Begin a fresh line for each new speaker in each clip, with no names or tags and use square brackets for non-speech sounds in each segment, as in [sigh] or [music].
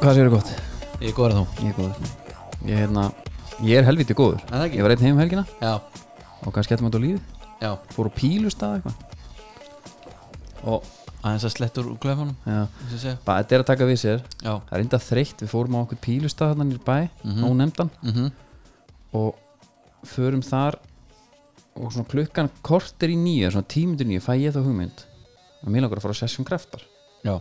Hvað séu gott?
Ég er góður en þú
Ég er góður Ég er, hérna, ég er helviti góður
En það ekki?
Ég var einn heim um helgina
Já,
og kannski hættum þetta á lífi
já
Fór á pílustað eitthvað Og
Aðeins að slettur úr glefanum
já,
eins og ég segja.
bara þetta er að taka við sér
Já
Það er enda þreytt, við fórum á okkur pílustað hérna nýr bæ
Mhm.
Nú nefndan
mm
Og förum þar Og svona klukkan kortir í nýju Svona tímundur nýju, fæ ég þá hugmynd Að mér langar að fara að sessjum kraftbar
Já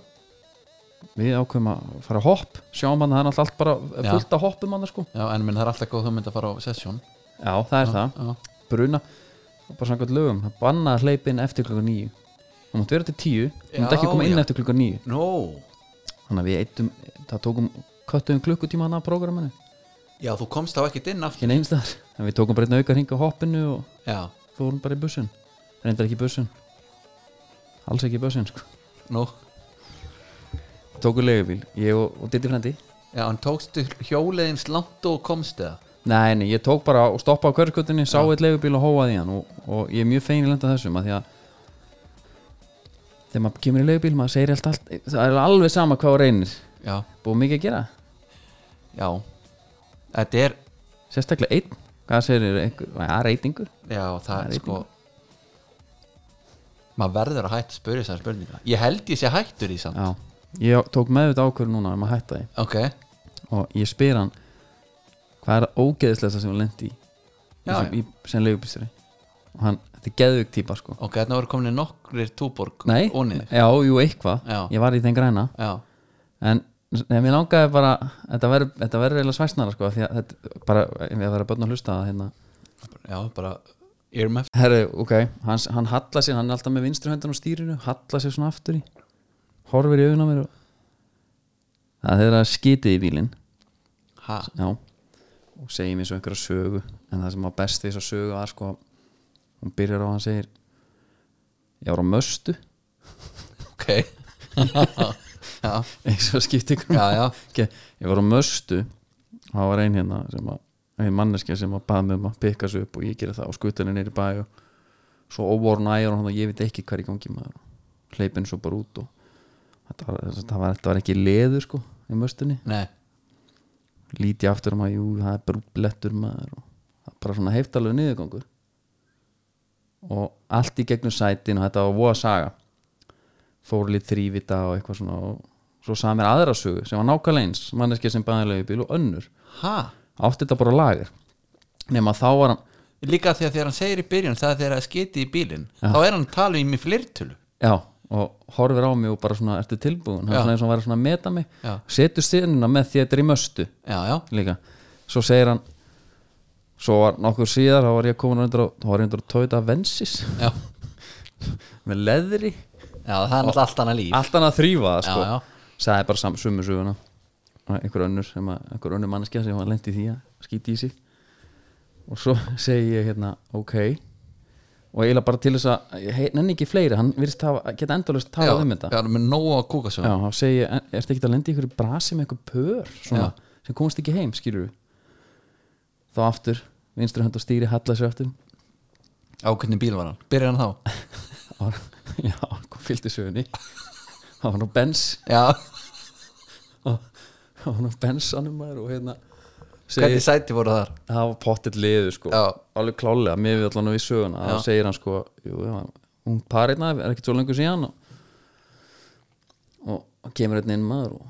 Við ákveðum að fara að hopp Sjáum hann, það er náttúrulega allt bara
Já.
fullt að hoppum hann sko
Já, en minn það er alltaf góð hugmynd að fara á sessjón
Já, það er það
Já,
bruna og bara samkvæmt lögum, það bannaði hleypin eftir klukkan níu það mátti vera til tíu, það mátti ekki
Já,
koma inn
já.
eftir klukkan níu
Nó
þannig að við eittum, það tókum köttum klukkutíma hann að prógraminu
Já, þú komst þá ekkert inn aftur
ekki neins þar, en við tókum bara einn auka hringa hoppinu og
Já,
fórum bara í bussun reyndar ekki í bussun alls ekki í bussun, sko
nú
tókum leigubíl, ég og, og Diddi frendi
Já, hann tókstu hjóleðins langt og komst eða
nei, nei, ég tók bara og stoppa á hverskotinu sá eitt leigubíl og hóaði í hann og, og ég er mjög fegin í lenda þessum að því að þegar maður kemur í leigubíl maður segir allt, allt það er alveg sama hvað á reynir
Já,
búið mikið að gera
já Þetta er
sérstaklega einn hvað segir þér, einhver- að reytingur
Já, það
Það
er
er
sko maður verður að hætta að spyrja þessar spurninga ég held ég sé hættur í samt
já, ég tók meðvita ákvörðu núna um að hætta því
ok,
og ég spyr hann hvað er það ógeðislega sem hann lendi í
Já,
sem, í, sem leigubýstari og hann, þetta er geðvig típa sko
ok, þarna voru komin nokkrir túborg
nei,
ónir
já, jú, eitthvað
Já.
ég var í þeim græna
já,
en Nei, mér langaði bara, þetta verður þetta verður eiginlega svæsnara sko, af því að þetta bara, við að vera börn að hlusta að hérna
já, bara earmuff
Herri, ok, hann, hann hallar sér, hann er alltaf með vinstri höndan á stýrinu, hallar sér svona aftur í horfir í augun á mér og það er að skitið í bílinn
ha,
já, og segir mér svo einhverja sögu en það sem var best við þess að sögu var sko, hún byrjar á að hann segir ég var á möstu [laughs]
ok [laughs] já,
eins og skipti ykkur
já, já,
okay, ég var á möstu og það var ein hérna sem að ein manneskja sem að bað mig um að pikka sig upp og ég gera það og skuta henni neyri bæ og svo óvorn ægur hann og ég veit ekki hvað er í gangi maður hleypin svo bara út og þetta var, þetta var, þetta var ekki leður sko í möstunni,
nei
líti aftur um að jú, það er bara blettur maður og það er bara svona heiftalegu niðurgangur og allt í gegnum sætin og þetta var voða saga fór lít þrývita og eitthvað svona og svo sagði mér aðra sögu sem var nákvæmlega eins manneskja sem bæðilegu bíl og önnur
ha,
átti þetta bara á lager nema þá var hann
líka því að þegar hann segir í byrjun það er þegar að skiti í bílinn þá er hann talið í mig flirtölu
já, og horfir á mig og bara svona ertu tilbúin, hann
Já.
svona eins og hann væri svona að meta mig
Já.
setur sinna með því að þetta er í möstu
já, já,
líka, svo segir hann svo var nokkur síðar þá var ég komin undir á, þá var ég undir að tóta vensis
já,
með leðri,
já það er náttúrulega allt annað líf
allt hann að þrýfa það sko,
já, já,
sagði bara sam, sumu söguna Og einhver önnur sem að, einhver önnur manneskja sem var lendi því að skýti í sig og svo [laughs] segi ég hérna ok og eiginlega bara til þess að ég hei- nenni ekki fleiri, hann virðist hafa, geta endalaust
já,
talað um þetta
já, með nóg að kúka svo
Já, þá segi ég, er þetta ekki að lenda í einhverju brasi með einhver pör svona, sem komast ekki heim, skýrur við þá aftur, vinstri hönd og stýri halla sér aftur
á hvernig bíl var hann, byrjar hann [laughs] þá
Á- [laughs] já, kom fylgdi sögunni það var nú bens
Já,
og- það var nú bensanum maður og hérna
hvernig
segi,
sæti voru þar?
það var pottitt liðu sko,
Já.
alveg klálega, mér við allan við söguna,
Já.
þá segir hann sko jú, já, hún parirna, er ekkert svo lengur síðan og, og kemur einn inn maður og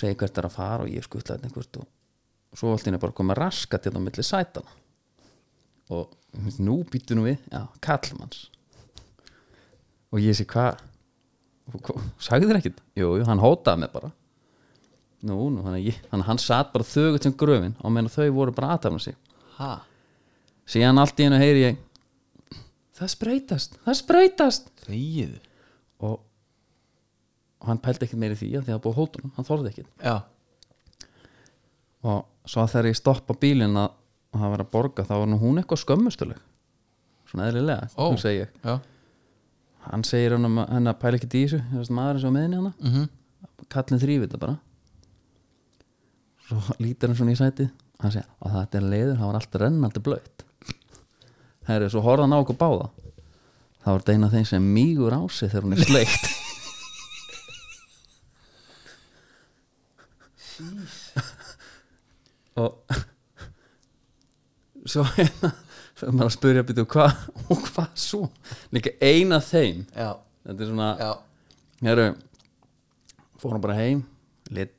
segir hvert er að fara og ég skutla einn einhvert og svo allt henni bara koma raskat hérna á milli sætana og nú býttu nú við já, kallmanns og ég sé hvað hva, sagði þér ekkert, jú, jú, hann hótaði mig bara nú, nú, þannig að ég, þannig að hann satt bara þögut sem gröfin og meðan þau voru bara aðtafna sig
Ha?
síðan allt í hennu heyri ég það spreytast, það spreytast
Þegið
og, og hann pældi ekkert meiri því af því að það búið hótunum, hann þorði ekkert
Já,
og svo að þegar ég stoppa bílinn að að það var að borga þá var nú hún eitthvað skömmustuleg svona eðlilega,
Ó.
hún segi ég
já,
hann segir hann að henni að pæla ekkert í þessu þessi maðurinn sem var meðinni hana
mhm
kallin þrýfið þetta bara svo lítur hann svona í sætið hann segir að þetta er leiður, það var allt rennandi blöytt herri, svo horfði hann á okkur báða það var þetta eina af þeim sem mýgur á sig þegar hún er sleikt og svo hérna svo er maður að spyrja býtu hvað og hvað svo líka eina þeim
já,
þetta er svona
já,
Heru, fórum bara heim lét,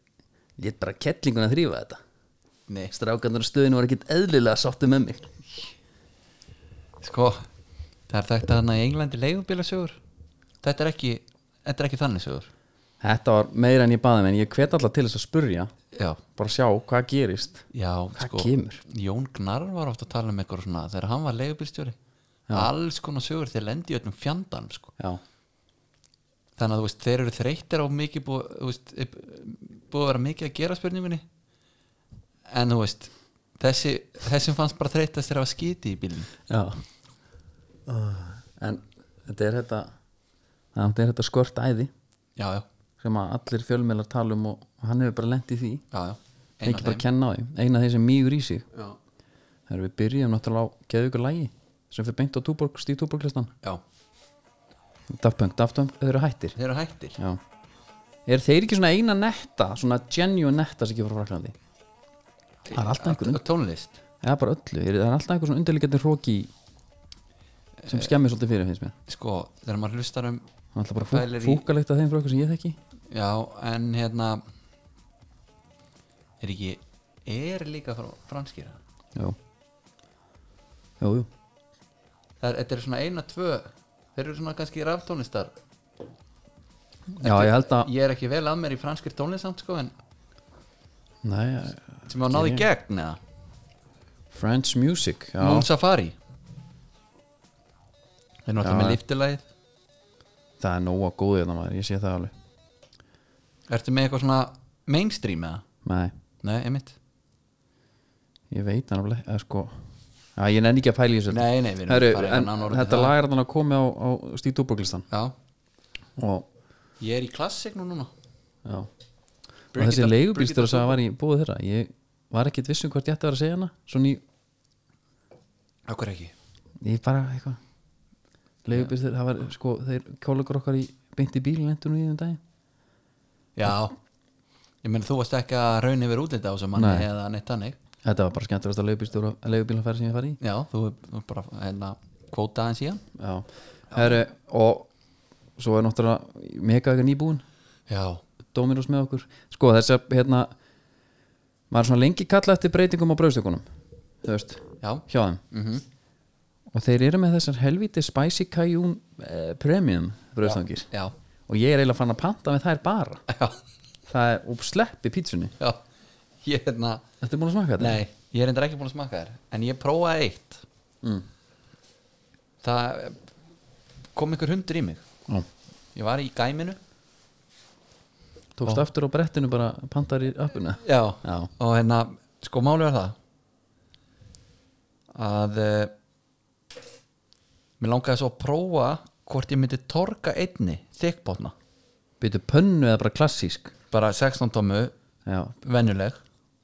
lét bara kettlinguna þrýfa þetta
nei
strákandur á stöðinu var ekkit eðlilega sáttu með mig
sko, það er þetta hann að í Englandi leigubílasögur þetta er ekki, þetta er ekki þannig sögur
þetta var meira en ég baði mig en ég hvet alltaf til þess að spurja
já,
bara sjá hvað gerist
já,
Hvað
sko
kemur?
Jón Gnarr var oft að tala um eitthvað svona þegar hann var leigubílstjóri alls konar sögur þeir lendi í öllum fjandanum sko.
já,
þannig að þú veist, þeir eru þreyttir á mikið búið, þú veist, upp- búið að vera mikið að gera spurningunni en þú veist þessi, þessum fannst bara þreytast þegar að skiti í bílinn
já. en þetta er þetta þetta er þetta skört æði
já, já,
sem að allir fjölmeilar tala um og og hann hefur bara lent í því
já, já, Einn
ekki bara að kenna á því, eina þeir sem mýgur í sig
já.
þegar við byrjum náttúrulega á geðu ykkur lægi sem fyrir beint á túborg, stíð túborglistan
já,
Daft Punk, Daft Punk, þau eru hættir
þeir eru hættir
Já Er þeir ekki svona eina netta, svona genuine netta sem kemur frá Fraklandi? Það er alltaf einhver
og tónlist
Já, bara öllu, Er- það er alltaf einhver svona undirlíkjandi hróki sem
Eh,
skemmir svolítið fyrir finnst mér
sko, þegar maður hlustar um
Það er alltaf bara fúk,
Pælir í-
fúkalegt að þeim frá okkur sem ég þekki
já, en hérna er ekki er líka frá franskýra
Já Jú, jú,
það er, þetta er svona eina, tvö þeir eru svona kannski raftónlistar
já ég held að
ég er ekki vel að mér í franskir tónlistsamt sko, en
Nei,
sem hafa náði gegn eða
French Music Já,
Moon Safari þeir eru alltaf
Já.
með liftilæð
það er nóga góðið þetta maður, ég sé það alveg
ertu með eitthvað svona mainstream eða?
Nei,
nei, einmitt
ég veit hann alveg, eða sko Já, ég nenni ekki að pæla í þessu
nei, nei, við erum
Heru,
bara eitthvað
en,
nánar út í
Þetta
það.
lag er þannig að komi á, á Stíð Dúborglistan
já,
og
Ég er í klassik nú núna
Já. og
Break
þessi
it up,
leigubílstjóri sem var í búið þeirra ég var ekkit viss um hvort ég ætti að vera að segja hana svona í,
Akkur ekki
ég bara eitthvað leigubílstjóri, það var sko þeir kjólugur okkar í beint í bílinn endur nú í þeim daginn
Já Ég meina þú varst ekki að raun yfir útlita á sem manni
Nei.
eða neitt þannig
þetta var bara skemmtilegast að leigubílstjóri að leigubílaferð sem ég fari í
Já, þú þú bara hérna kvóta aðeins í hann
Já. Heru, og svo er náttúrulega mega eitthvað nýbúin
Já,
Dominos með okkur sko þess að hérna maður er svona lengi kalla eftir breytingum á brauðstökunum þú veist,
já,
hjá þeim
mhm,
og þeir eru með þessar helviti Spicy Cajun eh, Premium brauðstangir
já,
og ég er eiginlega fann að panta með þær bara
já,
það er og sleppi pítsunni
já Ég hérna
Þetta er búin að smaka þetta?
Nei, ég er endur ekki búin að smaka þér En ég prófaði eitt
Mm.
Það kom einhver hundur í mig
Ó,
Ég var í gæminu
tókst aftur á brettinu bara pantar í appuna
Já,
Já.
og hérna sko málið var það að uh, mér langaði svo að prófa hvort ég myndi torka einni þykbótna,
Byttu pönnu eða bara klassísk
bara 16 tómu
Já,
venjuleg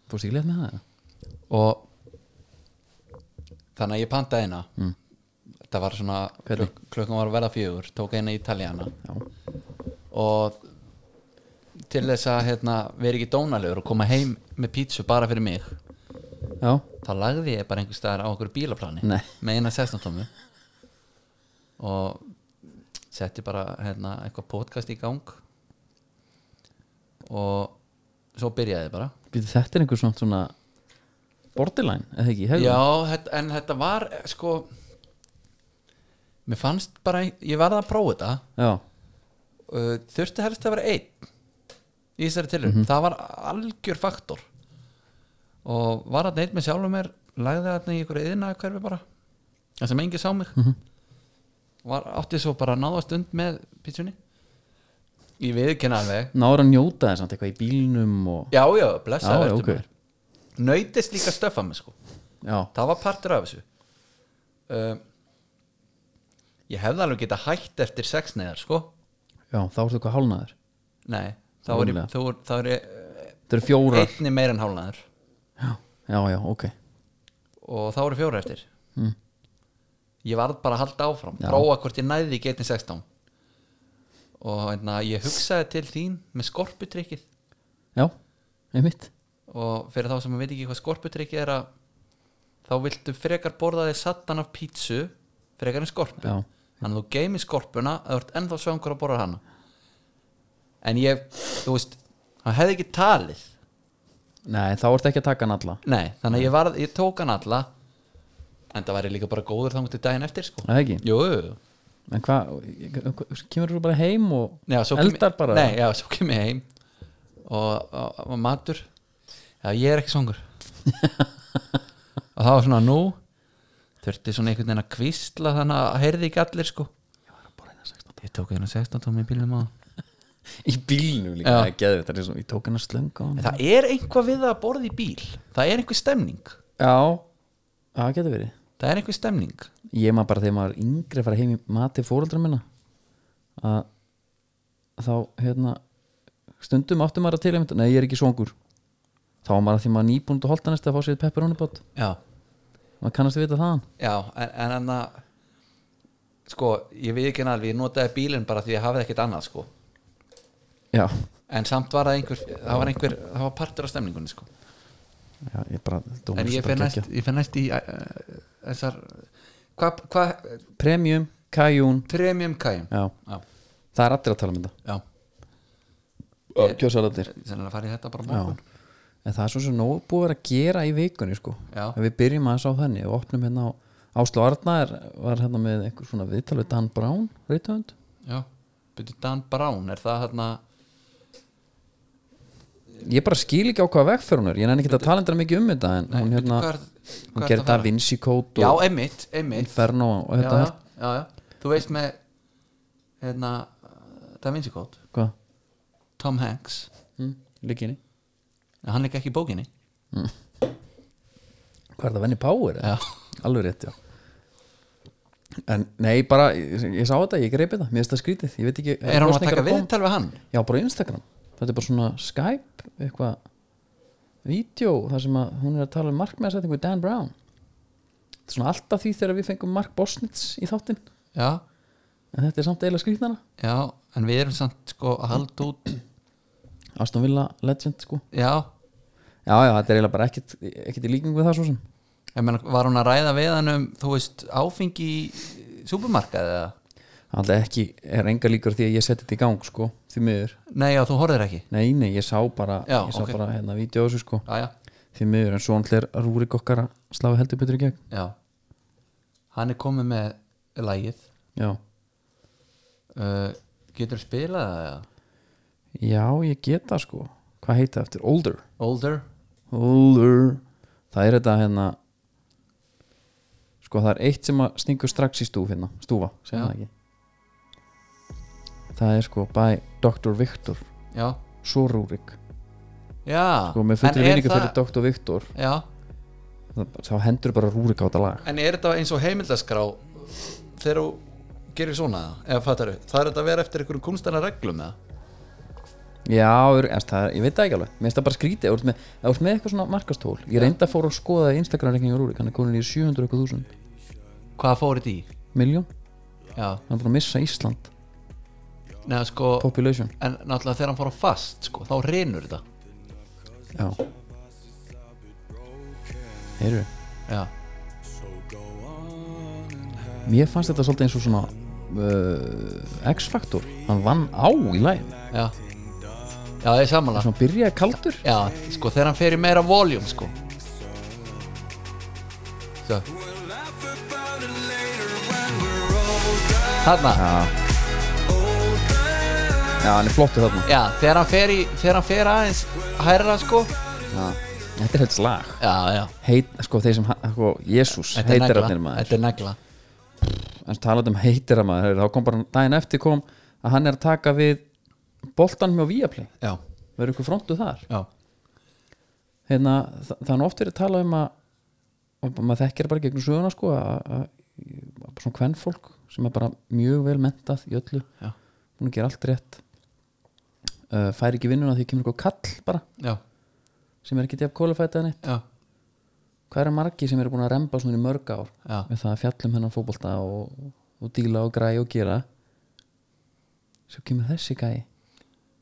fórst ekki létt með það?
og þannig að ég pantaði eina mm. það var svona
Hvernig?
klukk- klukkan var að verða fjögur, tók eina ítaljana
Já,
og til þess að hérna, vera ekki dónalegur og koma heim með pítsu bara fyrir mig
já,
þá lagði ég bara einhver staðar á okkur bílaplani
Nei.
með eina 16 tómu og setti bara hérna, eitthvað podcast í gang og svo byrjaði ég bara
byttu þetta er einhver svona, svona borderline, eða ekki? Hefði?
já, þetta- en þetta var eh, sko mér fannst bara, ég varði að prófa þetta
Já,
uh, þurfti helst að vera einn í þessari tilhör
Mhm.
það var algjör faktor og var að neitt með sjálfum mér lagði þarna í einhverju yðna hverfi bara það sem engi sá mig
Mhm.
var, átti svo bara náða stund með pítsunni ég viðkenna alveg
náður að njóta þess samt eitthvað í bílnum og
já já, blessa
Já, ok.
verður okay. mér nöytist líka að stöffa mig sko
Já,
það var partur af þessu um, ég hefði alveg geta hætt eftir sex neðar sko
já, þá ertu eitthvað hálnaður
nei, þá er,
Rúmlega.
ég- þá er, þá er ég, eh,
Þetta eru fjórar
einni meir en hálnaður
Já, já, já, ok
og þá eru fjóra eftir
Mm.
ég varð bara að halda áfram
Já.
prófa hvort ég næði ekki einni 16 hérna, og einna, ég hugsaði til þín með skorputrykkið
Já, einmitt
og fyrir þá sem maður veit ekki hvað skorputrykki er að þá viltu frekar borða þig sattan af pítsu frekar en skorpu
Já.
þannig að þú geymir skorpuna að þú ert ennþá svangur að borða hana en ég, þú veist hann hefði ekki talið
Nei, þá ertu ekki að taka hann alla
nei, þannig að ég, var, ég tók hann alla en það væri líka bara góður þangur til daginn eftir sko.
Það ekki
jú, jú, jú.
En hvað, kemur þú bara heim og
Já, svo kem-
eldar bara
Nei, já, svo kem ég heim og, og, og matur Já, ég er
[laughs]
ekki svangur Og það var svona nú Þurfti svona einhvern veginn að kvísla Þannig að heyrði ekki allir sko Ég tók einu 16 tómi í bílum á
Í bílnum líka,
Já.
það er geðvægt Það er svona, ég tók hann að slönga á hann
Það er einhvað við að borða í bíl Það er einhver stemning
Já, það getur verið
Það er einhver stemning
Ég maður bara þegar maður er yngri að fara heim í mat til fóreldra minna að þá hérna stundum áttum maður að til einmitt, nei ég er ekki svongur þá var maður að því maður nýbúnd og holta næst að fá sér pepperónibot,
Já,
maður kannast að vita þaðan
já en, en anna, Sko, ég við ekki alveg Ég notaði bílinn bara því ég hafði ekkert annað sko
Já,
En samt var það einhver Það var, einhver, það var partur af stemningunni sko
já ég bara
en ég fer næst, ég fer næst í uh, þessar hvað hva,
Premium, kajún,
premium kæm
já,
já,
það er allir að tala um
já,
þetta Kjósalatnir
sennilega farið þetta bara á
Já,
morgun
en það er svo sem nóg búið að vera að gera í vikunni sko
Já.
Ef við byrjum aðeins á þenni og opnum hérna á Áslu Arnar var hérna með einhver svona viðtal við Dan Brown, reytöfund
já, byrju Dan Brown er það hérna,
Ég bara skil ekki á hvaða vegferð hún er Ég nenni ekki að tala hendur mikið um þetta en hún hérna,
hvað er,
hún
hvað er
gerir Da
það að fara?
Vinci Code
já,
og
einmitt, einmitt
Inferno og
já,
þetta
já,
allt
já, já, þú veist með hérna, Da Vinci Code
Hvað?
Tom Hanks,
Mm, Líkinni
en hann er ekki í bókinni
Hvað er það, Venni Power? eða?
já,
Alveg rétt, já En nei, bara, ég, ég sá þetta, ég greipi það Mér finnst það skrítið, ég veit ekki
er hann að
kosningar
taka
koma.
viðtal við hann
Já, bara á Instagram Þetta er bara svona Skype eitthvað vídeo þar sem að hún er að tala um markmæðarsetningu við Dan Brown Þetta er svona alltaf því þegar við fengum Mark Bosnitz í þáttinn
já,
en þetta er samt eiginlega skrýtnana
já, en við erum samt sko að halda út
Aston Villa legend sko
já,
Já, já, þetta er eiginlega bara ekkit, ekkit í líkingu við það svo sem
Ég meina, var hún að ræða við hann um, þú veist, áfengi í supermarkaði eða?
Alltaf ekki, er enga líkur því að ég seti þetta í gang sko, því miður
Nei, já, þú horfðir ekki.
Nei, nei, ég sá bara,
Já,
ég sá
ok.
bara hérna vídeo á þessu sko,
Já, já,
því miður en svo hann hlir að rúrik okkar að slafa heldur betur í gegn
já. Hann er komið með lægið.
Já,
Uh, getur spilað það eða?
já, ég get það sko Hvað heita það eftir? Older
Older?
Hólur Það er þetta hérna Sko það er eitt sem að stingur strax í stúf hérna Stúfa, segja
Já.
það ekki Það er sko by Dr. Viktor
Já.
Svo rúrik
Já.
Sko með
En
fullri
er
vinningu
það-
fyrir Dr. Viktor
Já,
það- Þá hendur bara rúrik á þetta lag
en er þetta eins og heimildaskrá þegar þú gerir svona eða? eða fattar þau? Það er þetta að vera eftir einhverjum kunstana reglum eða?
Já, er, er, það, er, ég veit það ekki alveg Mér finnst það bara skrítið, ef þú ert með, ef þú ert með eitthvað svona markastól Ég reyndi að fóra að skoða Instagram reikningi rúrik Hann er konin í 700 eitthvað þúsund
Hvað fór þetta í?
Miljón,
Já.
hann er búin að missa Ísland
Nei, sko,
Population,
en náttúrulega þegar hann fór á fast, sko, þá reynur þetta.
já Heyrðu
Já.
Mér fannst þetta svolítið eins og svona uh, X-Factor Hann vann á í lægin
Já. Já, það er samanlega.
Svona byrjaði kaldur
Já, sko þegar hann fer í meira voljum sko Svo Þarna,
Já, hann er flottu þarna
já, þegar hann fer í þegar hann fer aðeins hærra sko
já. Þetta er helst lag
Já, já,
Heit, sko, þeir sem, ha- sko, Jésús
þetta er negla
Heitirafnir maður
Þetta er negla
En talað um heitirafnir maður Þá kom bara daginn eftir kom að hann er að taka við boltan með Viaplay
Já,
Verður ykkur frontu þar
já,
hérna, þa- það er nú oft verið að tala um að og maður þekkir bara gegnum söguna sko að, að, að svona kvennfólk sem er bara mjög vel mentað í öllu
Já.
hún ger allt rétt uh, fær ekki vinnuna því kemur eitthvað kall bara
já,
sem er ekki til að kólafæta henni
já,
hvað eru margi sem eru búin að remba svona í mörg ár
já.
með það að fjallum hennan fótbolta og, og díla og græja og gera svo kemur þessi gæi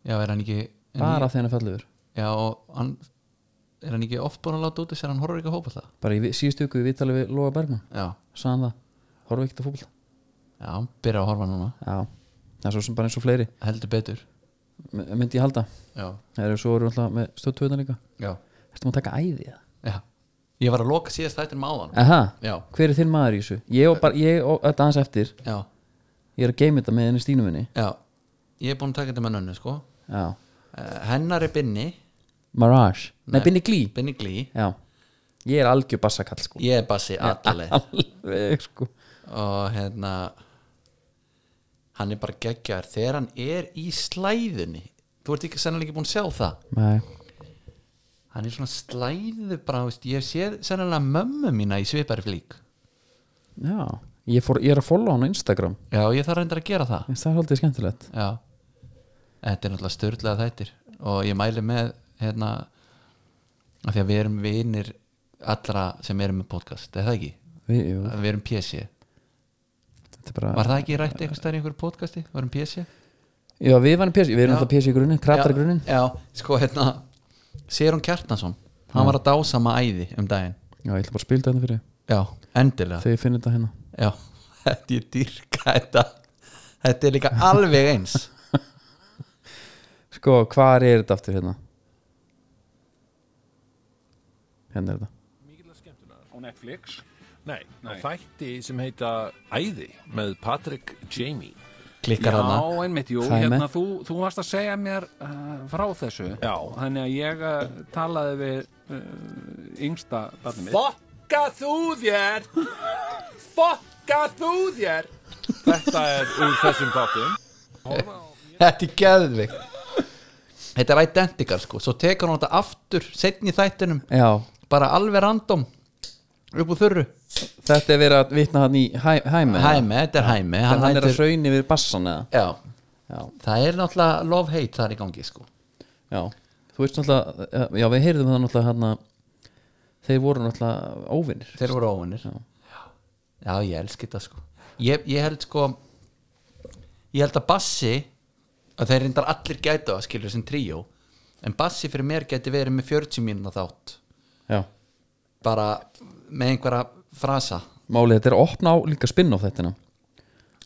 Já, er hann ekki en
bara þegar hann er fallur
ég- Já, og hann er hann ekki oft búin að láta út þess að hann horfir ekki að hópa það
bara í vi- síðustu ykkur við vitalið við Lóa Bergman
já,
sagðan það, horfum ekki að fókbalta
já, hann byrja að horfa núna
já, það er svo sem bara eins og fleiri
heldur betur
M- myndi ég halda,
já,
það eru svo eru alltaf með stöðtöðna líka,
já,
ertu maður að taka æði eða?
já ég var að loka síðast þættin með áðan
aha,
já,
hver er þinn maður í þessu? ég og bara, ég og þetta aðeins eftir
já,
ég er að geima þetta með henni Stínu minni
já ég er búin að taka þetta með nönnu sko
já,
Eh, hennar er Binni,
Mirage, nei, Binni Glí
Binni Glí
já, ég er algjör bassakall sko
ég er bassi allir
alveg sko
og hérna hann er bara geggjar þegar hann er í slæðunni þú ert ekki sennilega ekki búin að sjá það
nei,
hann er svona slæðu bara, þú veist, ég sé sennilega mömmu mína í svipari flík
já, ég, fór, ég er að follow hann á Instagram,
já, ég þarf reyndar að gera það
Finnst það er haldið skemmtilegt
já, þetta er náttúrulega störðlega þættir og ég mæli með hérna, af því að við erum vinir allra sem erum með podcast er það ekki?
við, jú,
Við erum PC
þetta er bara
Var það ekki rætt eitthvað stærri einhverju podcasti? um Við erum PC?
já, við varum pési, við erum
Já.
alltaf pési í grunin kratar í
Já,
grunin
Já, sko hérna Sérum Kjartnason, hann var að dásama æði um daginn
já, ég ætla bara að spila þetta fyrir þig,
Já, endilega
þegar ég finn þetta hérna
Já, [laughs] þetta ég dýrka þetta Þetta er líka alveg eins
sko, hvað er þetta aftur hérna? hérna er þetta
á Netflix Nei, á þætti sem heita Æði með Patrick Jamie
Klikkar hana
Já, einmitt, jú,
Sæmi.
hérna, þú, þú varst að segja mér uh, frá þessu
Já.
Þannig að ég uh, talaði við uh, yngsta barnið mitt
Fokka þú þér Fokka þú þér Þetta er úr þessum þáttum
Þetta er geðvik Þetta er identical sko Svo tekur hún þetta aftur setn í þættinum
já,
Bara alveg random Upp úr þurru
þetta er verið að vitna hann í hæ, hæmi eða?
Hæmi, þetta er Hæmi
hann, hann er að
hættir-
hraun yfir bassan eða
Já,
já,
það er náttúrulega love-hate þar í gangi sko
já, þú veist náttúrulega eh, já, við heyrðum það náttúrulega hann þeir voru náttúrulega óvinnir
Þeir voru óvinnir Já, Já ég elski þetta sko ég, ég held sko Ég held að Bassi að þeir reyndar allir gætu að skilur sem tríó en Bassi fyrir mér gæti verið með 40 mínúna þátt
já,
bara með einhverja frasa
málið þetta er að opna á líka spinn á þetta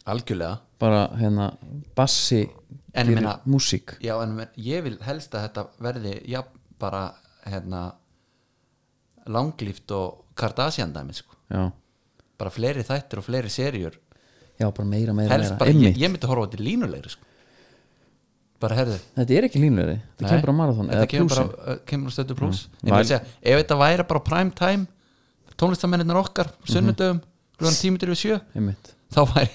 algjörlega
bara hérna bassi
En ég
gerir
meina-
músík
Já, en men- ég vil helst að þetta verði já, bara hérna langlíft og Kardashian dæmi sko
já.
bara fleiri þættir og fleiri seríur
já, bara meira, meira,
helst
meira
bara,
Einmitt.
ég, ég myndi horfa á þetta línulegri sko bara herðu
þetta er ekki línlegri, þetta
Nei,
kemur bara á marathon
þetta
eða
kemur
plúsin.
bara, uh, kemur á stötu pluss
Já.
en ég vil
Væl-
segja, ef þetta væri bara prime time tónlistamennirnar okkar,
Mhm.
sunnudöfum klugan tímitur við sjö,
Einmitt.
þá væri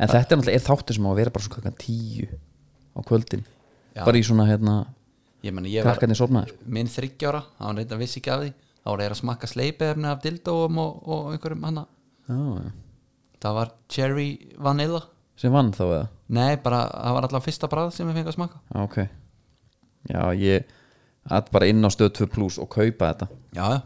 en þetta er náttúrulega er þáttur sem á að vera bara svona kakkan tíu á kvöldin bara í svona hérna
ég meni, ég var
krakkarnir sofnaðir sko.
minn þryggjára, þá hann reynda vissi ekki af því þá var ég að smakka sleipefni af dildóum og, og einhverjum hana
Já, já.
það var cherry vanilla
sem vann þá eða
nei, bara, það var alltaf fyrsta brað sem við fengið að smakka
Já, ok já, ég að bara inn á stöð 2 plus og kaupa þetta
já, já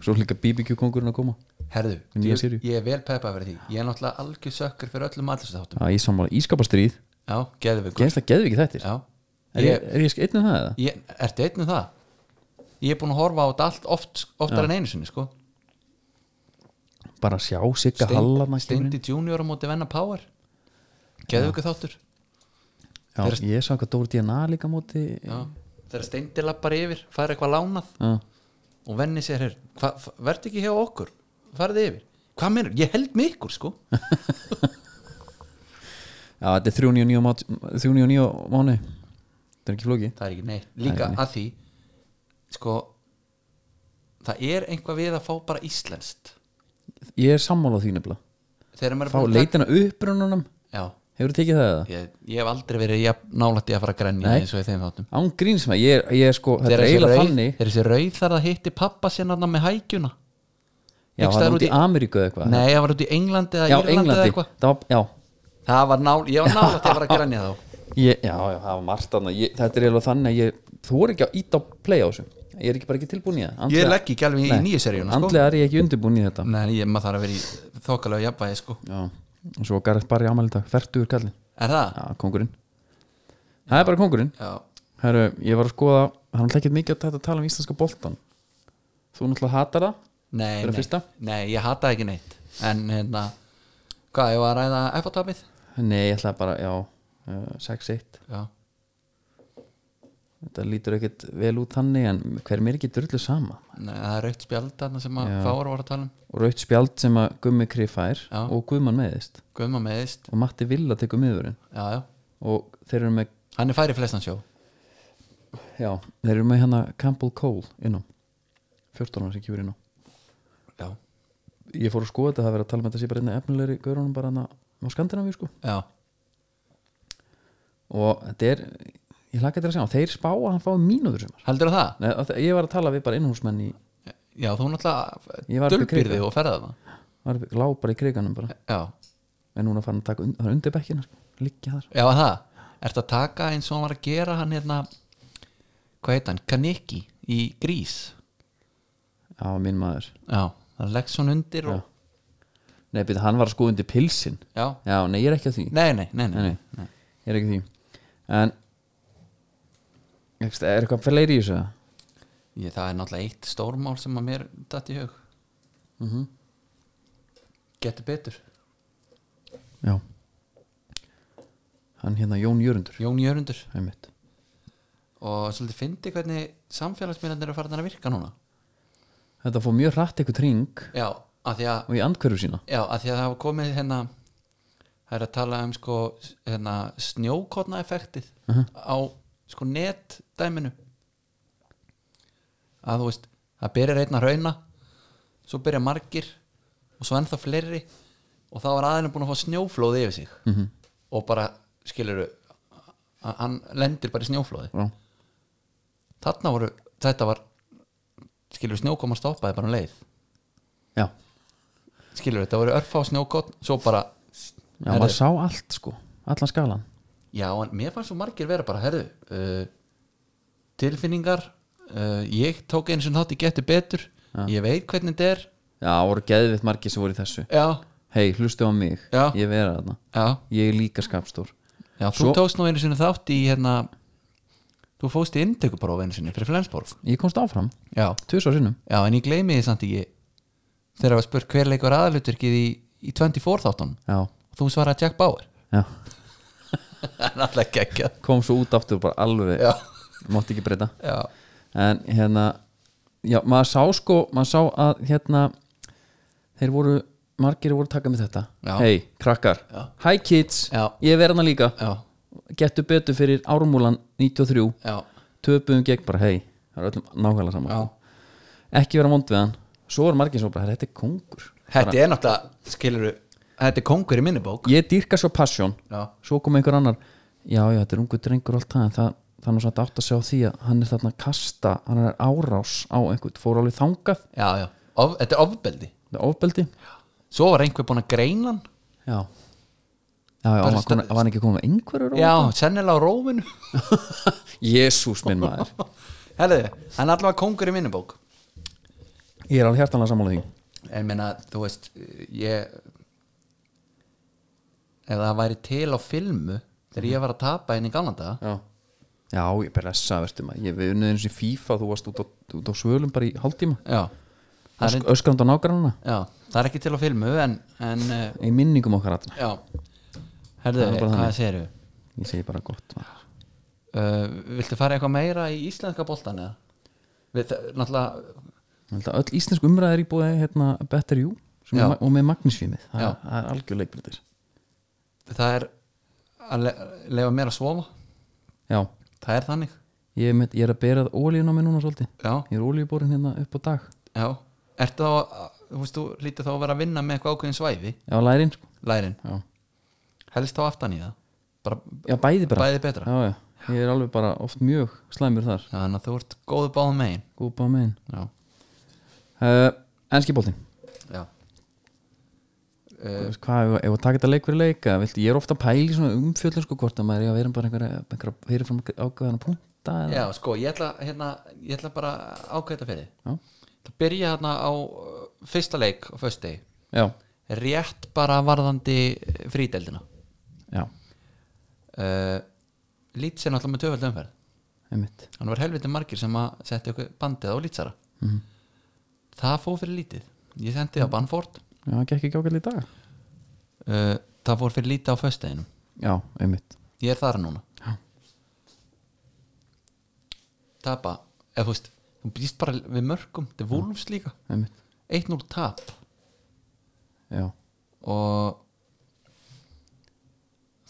svo er líka BBQ kongurinn að koma
Herðu,
Í nýja
ég,
seríu.
ég er vel peppað fyrir því Ég er náttúrulega algjör sökkur fyrir öllum allinsþáttum
já, ég sammála ískapastríð,
Já, geðu við
genst það geðviki þettir
Já,
er ég, er ég einnum það eða?
ég, ertu einn um það? Ég er búin að horfa á þetta allt oft, oftar en einu sinni sko.
bara sjá sigga hallarna kemur inn.
Steindi Junior á móti Venna Power Geðvöku þáttur
Já,
Þeir-
ég sá hvað Dóri DNA líka á móti
Já. Þegar Steindi lappar yfir, fær eitthvað lánað
Já.
og venni sér hér Verð ekki hjá okkur, farið yfir Hvað meinar, ég held mig ykkur
[laughs]
sko
Já, þetta er 399 mát- 399 mánu Þetta er ekki flóki
Það er ekki neitt Líka
ekki neitt.
að því sko, Það er einvað við að fá bara íslenskt
Ég er sammála á því nefnilega
Þegar maður er
Fá
búinn að taka-
leitina upprununum
Já,
Hefur tekið það eða?
ég, ég hef aldrei verið nálætt í að fara að grenja
Nei.
eins og í þeim þáttum
Án gríns með, ég, er- ég er sko Þetta
Þegar
er
þessi
eiginlega
rauð-
þannig
þegar þessi rauð þar að hitti pappa sinna hann með hækjuna
Já,
einhvers
það
staðar
er út í
í-
Ameríku eða eitthvað
nei, það var út í Englandi eða
Já,
Írlandi eða
Englandi
eitthvað
það var, Já,
það var nál, ég var nálægt að fara að grænja þá
ég, já, já, það var margt annað ég, Þetta er eiginlega þannig að ég, þú er ekki að íta á play á þessu Ég er ekki bara ekki tilbúin í það [laughs]
ég
Andlega-
legg ekki alveg í
Nei,
nýju seríuna sko.
Andlega er ég ekki undirbúin í þetta
nei, ég, maður þarf að vera í þokkalega jafnvægi sko.
Já, og svo Gareth Barry ámæli dag Fertur kallinn
er það?
Já, kongurinn Það er bara kongurinn
já,
Herru, ég var að skoða, hann er ekkert mikið að þetta tala um íslenska boltan Þú náttúrulega hatar það
Nei,
Fyrir að
nei,
fyrsta?
nei, ég hata ekki neitt En hérna, hvað, ég var að ræða iPod-tapið?
Nei, ég ætla bara, já, uh, 6-1
Já,
Þetta lítur ekkit vel út þannig en hver mér ekki drullu sama
nei, það er raukt spjald þarna sem að
Já.
fáur voru að tala um
og raut spjald sem að Gummi Kri fær
Já.
og Guðmann meðist
Guðma meðist,
og Matti Villa tekur miðurinn
já, já
og þeir eru með,
Hann er færi flestan sjó
já, þeir eru með hérna Campbell Cole inná 14 ára sem kjúr inná
Já,
Ég fór að skoða þetta, það er verið að tala með þetta sé bara einnig efnilegri gaurunum bara hana á Skandinavíu sko
já,
og þetta er, ég hlaka þetta að segja þeir spá að hann fá mínútur sumar
heldur það?
Nei, að- ég var að tala við bara innhúsmenn í
Já, þú
Ég var
náttúrulega
upp í
dölbýrði
Krikann.
og ferða það
var lá bara í kriganum bara
Já,
en núna fann að taka und, það er undir bekkina sko, liggja þar
já, var það Ertu að taka eins og hann var að gera hann hérna Hvað heit hann? Kaniki í Grís
já, minn maður
Já, það leggst svona undir og,
nei, byrja, hann var að sko undir pilsin
já.
já, nei, ég er ekki að því
Nei, nei, nei, nei,
Nei, nei. ég er ekki að því en Ekst, er eitthvað fleiri í þessu eða?
Ég, það er náttúrulega eitt stórmál sem að mér datt í hug mm
Mhm.
Getur betur
já hann hérna Jón Jörundur
Jón Jörundur
einmitt
og svolítið fyndi hvernig samfélagsmiðlandir eru farin að virka núna
þetta fór mjög hratt eitthvað tring
Já, af því að,
og í andkörfu sína
já, af því að það hafa komið hérna það er að tala um sko hérna, snjókotna effektið á sko netdæminu að þú veist það byrjar einn að rauna svo byrja margir og svo ennþá fleiri og þá var aðeins búin að fá snjóflóði yfir sig -hmm. og bara skilur hann lendir bara í snjóflóði
já,
þarna voru, þetta var skilur snjókoma stoppaði bara um leið
já,
skilur þetta voru örfá snjókotn svo bara,
já maður sá allt sko allan skalan
já en mér fannst svo margir vera bara, herðu uh, tilfinningar uh, ég tók eins og þátt ég geti betur ég veit hvernig þetta er
já, voru geðvitt margir sem voru í þessu
já,
hei, hlustu á mig,
Já.
ég vera þarna
já,
ég er líka skapstór
já þú
Svo-
tókst nú einu sinni þátt í hérna þú fóst í inntökupróf einu sinni fyrir Flensborg
ég komst áfram,
já,
tvisar sinnum
já en ég gleymi því samt ekki þegar að spurt hver leikur aðaluturkið í, í 24 þáttunum
já,
og þú svaraði Jack Bauer
já.
[laughs] það er alltaf gekkja
kom svo út aftur bara alveg
já,
mátti ekki breyta
já,
en hérna já, maður sá sko, maður sá að hérna þeir voru, margir voru að taka með
Já.
þetta hei, krakkar,
Já.
hi kids
Já.
ég er verðna líka,
já,
gettu betur fyrir ármúlan 93,
já,
töpuðum gegn bara hei, það er öllum nákvæmlega saman
já.
ekki vera vond við hann, svo er margir svo bara, "Herra, þetta er kongur
Þetta er náttúrulega, skilur Þetta er kongur í minni bók
ég dýrka svo passion
Já.
svo kom einhver annar já, já, þetta er ungu drengur og allt það en það, það er nú satt átt að sjá því að hann er þarna að kasta hann er árás á einhvern, fór alveg þangað
Já, já, of, þetta er ofbeldi
það er ofbeldi
Svo var einhver búinn að greina hann
já, já, já
Bara
var,
sta-
komin, var hann ekki komin með einhverjur
Já, sennilega á róminu
jésús [laughs] minn maður
[laughs] Herðu, hann er allavega kongur í minni bók
ég er alveg hjartanlega sammála því
En meina, þú veist Ég Ef það væri til á filmu Þegar ég var að tapa henni í galanda
já, já ég pressa verður maður ég við unnið eins og í FIFA, þú varst út á, út á svölum bara í hálftíma
Já, það er,
Ösk, öskrand á nágrannana
já, það er ekki til á filmu En, en eh,
í minningum okkar allra
já Herðu,
Það er bara
hvað
þannig.
segirðu?
ég segi bara gott maður
Uh, viltu fara eitthvað meira í íslenska boltan eða? Við, það, náttúrulega,
Ég held að öll íslensk umræða er í búið hérna, Better You sem
Já.
er, ma- og með Magnusvímið það,
Já.
er- það er algjör leikbritir
það er að le lefa mér að svofa
já,
það er þannig
ég, er með, ég er að bera ólíun á mig núna svolítið
já,
ég er ólíuborinn hérna upp á dag
já, ertu þá að- þú veist, þú lítur þá að vera að vinna með eitthvað ákveðin svæfi
já, lærin sko
lærin,
já,
helst þá aftan í það bara
já bæði bara
bæði betra já.
já, já. ég er alveg bara oft mjög slæmur þar
þannig að þú ert góðu báðum megin
gúpa megin
já,
uh, enski boltinn
já,
Þú veist, hvað, ef- ef að taka þetta leik fyrir leik eða viltu, ég er ofta að pæla í svona umfjöllun sko hvort að maður er að vera bara einhverja, einhverja fyrirfram ákveðan að punta eða,
já, sko, ég ætla, hérna, ég ætla bara að ákveða þetta fyrir
Já.
það byrja hérna á uh, fyrsta leik á föstudegi,
já,
rétt bara varðandi eh, frídeildina
já,
uh, Lítsi er náttúrulega með tvöfald umferð
einmitt
hann var helviti margir sem að setja okkur bandið á Lítsara það fór fyrir lítið ég sendi á Banford
Já, hann gekk ekki ákveðlega í dag
uh, það fór fyrir lítið á föstudeginum
Já, einmitt
ég er þar núna Já. tapa eða þú veist, þú býst bara við mörgum þetta er Wolves líka,
Einmitt,
1-0 tap
já
og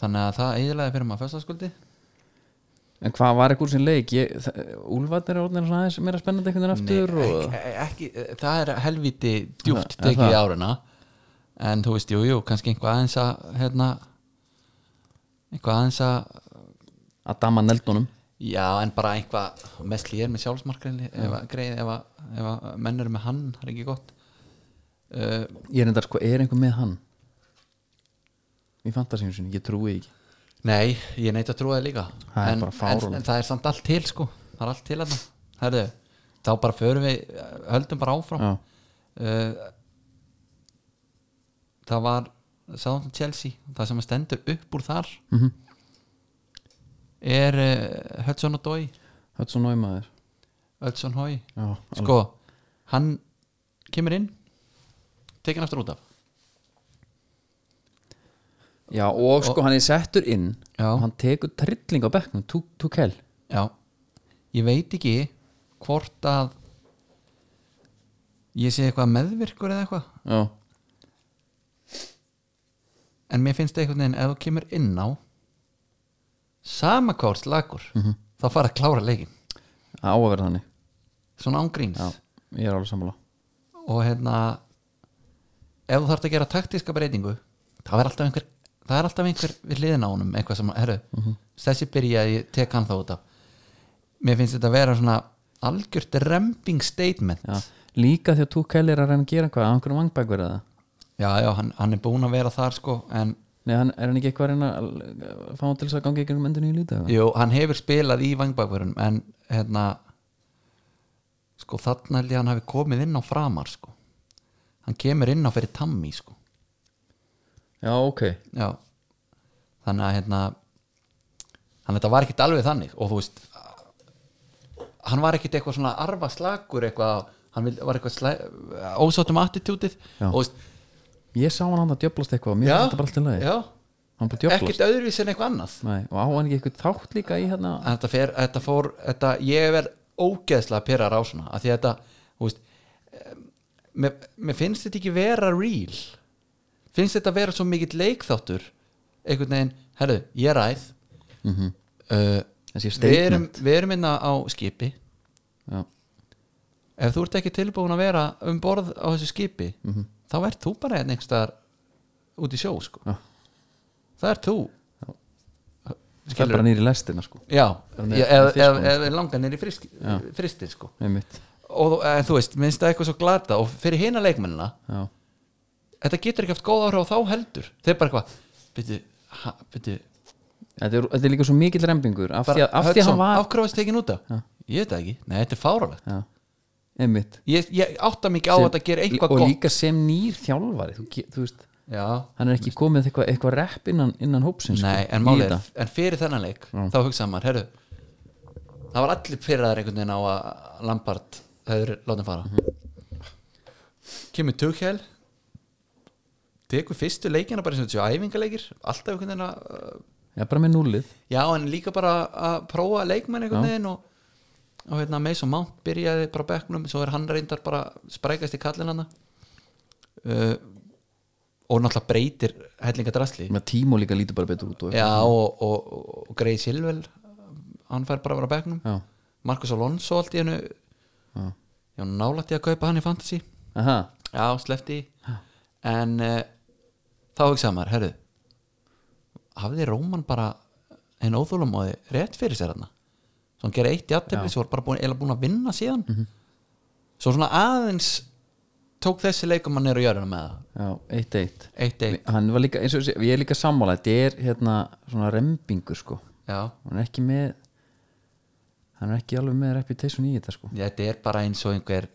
þannig að það eiginlega fyrir maður föstaskvöldi
En hvað var ekkur sem leik? Ég- þa- Úlfarnir er orðin aðeins meira spennandi einhvern veginn aftur og...
ekki, e, ekki, það er helviti
Það-
djúpt
er
tekið í
það?
áruna en þú veist, jú, jú, kannski einhvað aðeins að hérna einhvað aðeins að
að dama neldunum
já, en bara einhvað mest ég er með sjálfsmarkrein ef að, greið, ef að, ef að menn eru með hann, það er ekki gott uh,
Ég er enda sko, er einhver með hann? Í fantasíum sinni, ég trúi ekki
nei, ég neita að trúa það líka
Það er
en,
bara
en,
fáránlegt.
en það er samt allt til sko það er allt til þarna Herðu, þá bara förum við, höldum bara áfram
Já,
uh, það var Southampton Chelsea, það sem stendur upp úr þar
Mhm.
er uh, Hudson og Dói
þetta er svo námaður
Hudson Hói,
Já, alveg.
sko hann kemur inn tekin aftur út af
Já, og sko hann er settur inn
Já.
og hann tekur trilling á bekknum Tukel
Já, ég veit ekki hvort að ég sé eitthvað meðvirkur eða eitthvað
Já,
en mér finnst einhvern veginn ef þú kemur inn á sama hvort slagur
Mhm.
þá fara að klára leikin
á að vera þannig
svona ángríns
Já, ég er alveg sammála
og hérna ef þú þarft að gera taktíska breytingu það er alltaf einhver, það er alltaf einhver við hliðin á honum, eitthvað sem, herru þessi byrja, ég tek hann þá út af mér finnst þetta að vera svona algjört remping statement
Já, líka því að Tukel er að reyna að gera eitthvað á einhverjum vangbækverð eða
já, já, hann, hann er búinn að vera þar sko en,
Nei, hann, er hann ekki eitthvað að reyna að l- fá hann til þess að gangi ekki um endinu í lítið eða?
jú, hann hefur spilað í vangbakverunum en, hérna sko, þarna held ég að hann hafi komið inn á framar sko, hann kemur inn á fyrir tammi sko
Já, ok
já þannig að hérna þannig að þetta var ekkit alveg þannig og þú veist hann var ekkit eitthvað svona arfa slagur eitthvað hann vil- var eitthvað slæ, ósáttum attitútið
Já.
og þú veist
Ég sá hann hann að djöblast eitthvað og mér finnst þetta bara alltaf leið
já,
Hann búið djöblast
ekkit öðruvísi en eitthvað annað
Nei, og á hann ekki eitthvað þátt líka í hérna
En þetta, fer, þetta fór þetta, ég er ógeðslega pyrrar á svona að því að þetta þú veist, eh, mér, mér finnst þetta ekki vera real finnst þetta vera svo mikill leikþáttur einhvern veginn, herru, ég ræð
Þessi
uh, við erum,
Mhm. statement.
við erum inna á skipi
Já,
ef þú ert ekki tilbúin að vera um borð á þessu skipi
Mhm.
þá ert þú bara hérna einn einhverstaðar út í sjó sko.
Já.
það ert þú
það er bara nýri lestina sko
já,
Þannig
ég-
að
eða
fiskbónus.
eð, eð langar nýri fristir sko.
Nei, mitt
og þú, en, þú veist, minnst það eitthvað svo glata og fyrir hina leikmennina,
Já,
þetta getur ekki haft góð áhrif á þá heldur, þeir bara eitthvað byrju, ha, byrju
þetta er, þetta er líka svo mikill rembingur af því að, af því að hann var
ákráðast tekin út af ég veit það ekki, nei, þetta er fáralegt
Já, einmitt
ég, ég átta mikið á
Sem-
að þetta gerir eitthvað
og
gott
líka sem nýr þjálfari þú, ge- þú veist,
já,
hann er ekki komið eitthvað, eitthvað rep innan, innan hópsins
nei,
sko,
en
í
málið
þetta.
er- en fyrir þennan leik, þá hugsaði maður, herru það var allir pyrraðar einhvern veginn á að Lampard hefur látið fara
Mhm.
kemur Tuchel tekur fyrstu leikina bara eins og þessu æfingaleikir alltaf einhvern veginn að uh,
já, bara með núlið
Já, en líka bara að prófa leikmenn einhvern
Já.
veginn og, og hérna, Mason Mount byrjaði bara á bekknum svo er hann reyndar bara sprækast í kallin hann uh, og náttúrulega breytir hellingadrasli
Með tímo líka lítur bara betur út og,
Já, og, og, og, og Grey Silvel hann fær bara að vera á bekknum
Já.
Marcus Alonso allt í hennu já, nálætti að kaupa hann í fantasy
Aha,
Já, sleppti já. en uh, þá hugsaði maður, herru hafði Róman bara en óþólum og rétt fyrir sér hann svo hann gerði eitt í aðtefli svo var bara búin, eiginlega búin að vinna síðan svo svona aðeins tók þessi leikum hann neyru jörðina með það
já, eitt eitt
eitt eitt,
hann var líka, eins og sé- ég er líka sammála þetta er hérna svona rembingur sko
já,
hann er ekki með hann er ekki alveg með reputation í þetta sko
Já, þetta er bara eins og einhver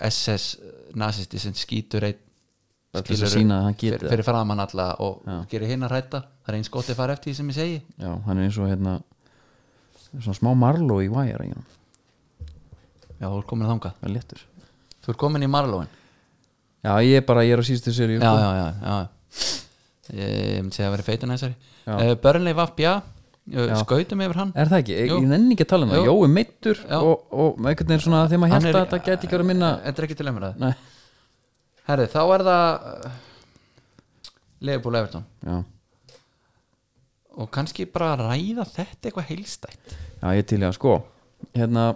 eh, SS nazisti sem skýtur eitt
Bara til þess að sýna að hann geti
fyrir,
það.
fyrir framann alla og gerir hinn að ræta það er eins gott að fara eftir því sem ég segi
já, hann er eins og hérna svona smá marló í væjar
já, þú er komin að þanga
það er léttur
Þú ert komin í Marlóin
Já, ég er bara, ég er á síðustu sko. serið
já, já, já, já Ég myndi segja að vera feitin þessari
Já.
uh, Börnleif Vapja uh,
Já.
Skautum yfir hann
Er það ekki? Ég,
Jú.
ég nenni ekki að tala um það
Jú.
Jói meittur
Já.
og, og einhvern veginn svona þegar maður
Hann
held
er- Eh,
að þetta geti ekki verið minna
Þetta er ekki til umræð
Nei,
Herri, þá er það uh, Leifbúl Evertón
já,
og kannski bara ræða þetta eitthvað heilstætt
já ég er til ég að sko Hérna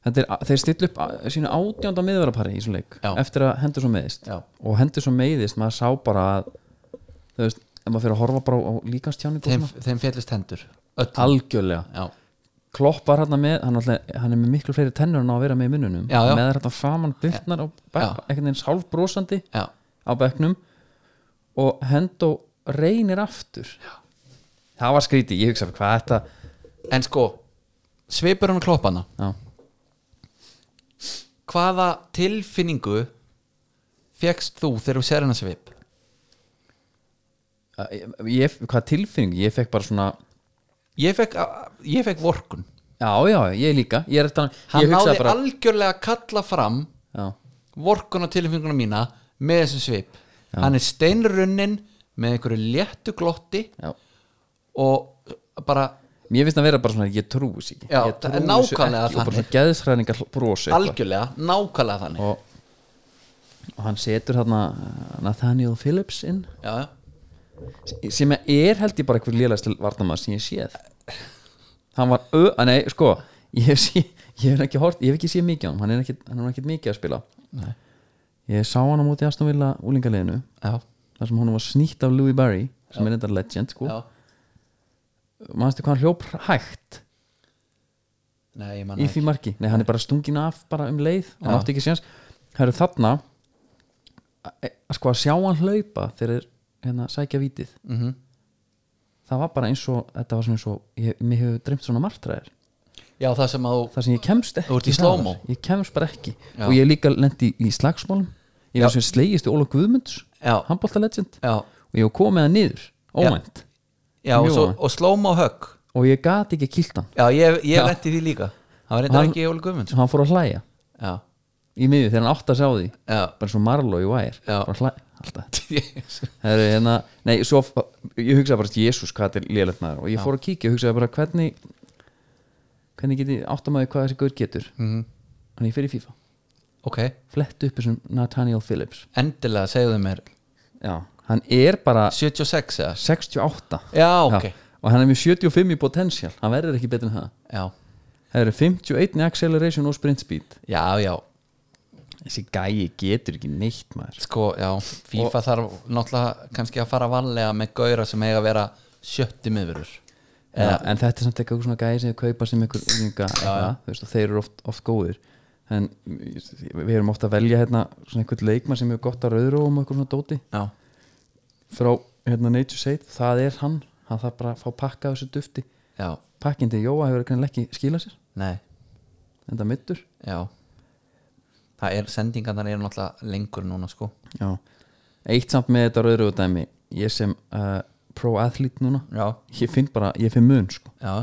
Þetta er, þeir stilla upp á- sínu átjánda miðverðarpari í svona leik
Já.
eftir að hendur svo meðist
Já.
og hendur svo meiðist, maður sá bara að þú veist, ef maður fyrir að horfa bara á, á líkanstjáningu
þeim,
og svona,
þeim fjallist hendur öll
algjörlega
já,
kloppar hann með hann, alltaf, hann er með miklu fleiri tennur en á að vera með í mununum
Já, já.
með þetta framan byrtnar og
Já.
bekk, einhvern veginn sálfbrósandi
já,
á bekknum og Hendo reynir aftur já. það var skrítið, ég hugsa hvað er þetta
en sko svipur hann kloppana
já,
hvaða tilfinningu fegst þú þegar þú sér hennar svip
ég, ég, hvað tilfinning ég fekk bara svona,
ég fekk, ég fekk vorkun
já já, ég líka ég, er þetta,
hann
ég
náði
hugsa bara
algjörlega að kalla fram
já,
vorkun á tilfinninguna mína með þessum svip hann er steinrunnin með einhverju léttu glotti
já.
og bara
mér finnst að vera bara svona, ég trúi þessu ekki
Já,
ég
það er
trúi þessu
nákvæmlega
ekki, og bara
þannig.
svona geðsræningar brosi eitthvað.
algjörlega, nákvæmlega þannig
og, og hann setur þarna Nathaniel Phillips inn
já, já
sem er held ég bara eitthvað lélægst varnamaður sem ég séð hann var ö, að nei sko ég hef, sé, ég hef ekki hort, ég hef ekki séð mikið á hann hann er ekkit, hann er ekkit mikið að spila
Nei.
ég sá hann á móti Astonvilla úlingaliðinu
já,
þar sem hann var snýtt af Louis Barry sem er þetta legend sko
já.
mannstu hvað hann hljóp hægt
Nei, ég manna
í því marki, nei hann er bara stungin af bara um leið, hann átti ekki séns það eru þarna að, að sko að sjá hann hlaupa þegar er hérna sækja vítið
mm -hmm.
það var bara eins og, þetta var svona eins og ég, mér hefur dreymt svona martræðir
Já, það sem að þú
þar sem ég kemst ekki
Þú ert í
hraðar.
slow-mo.
ég kemst bara ekki
Já.
og ég hef líka lendi í slagsmálum ég var sem slegist í Óla Guðmunds
Já.
handbólta legend
Já,
og ég hef komið það niður óvænt
já og,
Mjög
svo,
óvænt.
og slóm á högg
og ég gat ekki kilt hann
Já, ég, ég lendi í því líka Það var eitthvað
Hann-
ekki í Óli Guðmunds
og hann fór að hlæja
Já,
í miðju þegar hann átt að sjá því
já
bara svo Marlo í Wire
Já.
bara að hlæja
[laughs]
alltaf
Ég-
Heru, hérna, nei, svo, ég hugsaði bara Jésús hvað þetta er lélegt maður og ég fór að kíkja og hugsaði bara hvernig hvernig geti áttamæði hvað þessi gaur getur
Mhm.
hann ég fyrir FIFA
Ok,
flett upp þessum Nathaniel Phillips
endilega segðu mér
já, hann er bara
76 eða
68
Já, ok, já,
Já, og hann er með 75 í potential hann verður ekki betur en það
já,
það eru 51 í acceleration og sprint speed
já,
þessi gæi getur ekki neitt maður
Sko, já, FIFA þarf náttúrulega kannski að fara varlega með gauðra sem eiga að vera sjötti miðurur
ja, en þetta er samt eitthvað svona gæi sem þau kaupa sem einhver unga eitthvað, þú veist, og þeir eru oft, oft góðir en við erum oft að velja hérna svona einhvern leikmann sem er gott að rauðra og eitthvað svona dóti
Já,
frá hérna Nature State, það er hann hann þarf bara að fá pakka af þessu dufti
já,
pakkindi Jóa hefur greinilega ekki skilað sér
nei,
enda middur
já Það er, sendingarnar eru náttúrulega lengur núna, sko
Já. Eitt samt með þetta rauðröðu dæmi ég sem uh, pro-athlete núna
Já,
ég finn bara, ég finn mun sko.
Já,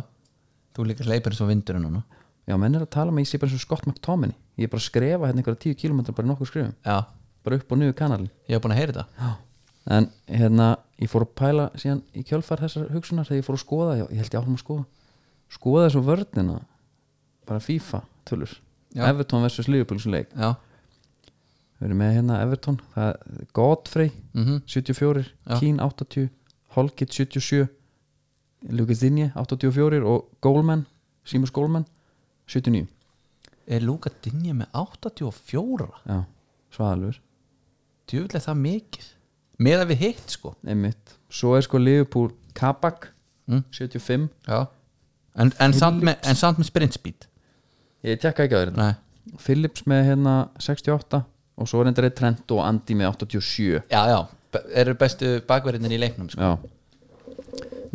þú líka hleypir eins og vindurinn núna
Já, menn er að tala með, ég sé bara eins og Scott McTominay ég er bara að skrefa hérna einhverja 10 km bara í nokkur skrifum,
Já,
bara upp og niður kanalin
ég hef búin að heyra þetta
Já. en hérna, ég fór að pæla síðan í kjölfar þessar hugsunar þegar ég fór að skoða, ég, ég held ég áfram að skoða skoða þessu vörnina bara FIFA tölur
Já.
Everton vs. Liverpool sem leik
Já,
við erum með hérna Everton, það er Godfrey
mhm,
74,
Já.
Keane 80 Holgit 77 Lucas Dinje 84 og Goldman, Seamus Goldman 79,
er Lúka Dinja með 84?
já, svaðalur
Djöfulega það mikið Með að við hitt, sko
einmitt, svo er sko Liverpool Kabak
Mm.
75
Já En, en, samt, með, en samt með sprint speed
ég tekka ekki á þér hérna.
Nei,
þetta Phillips með hérna 68 og svo er endur eitt Trent og Andy með 87
já, já, be- eru bestu bakverðinir í leiknum, sko
já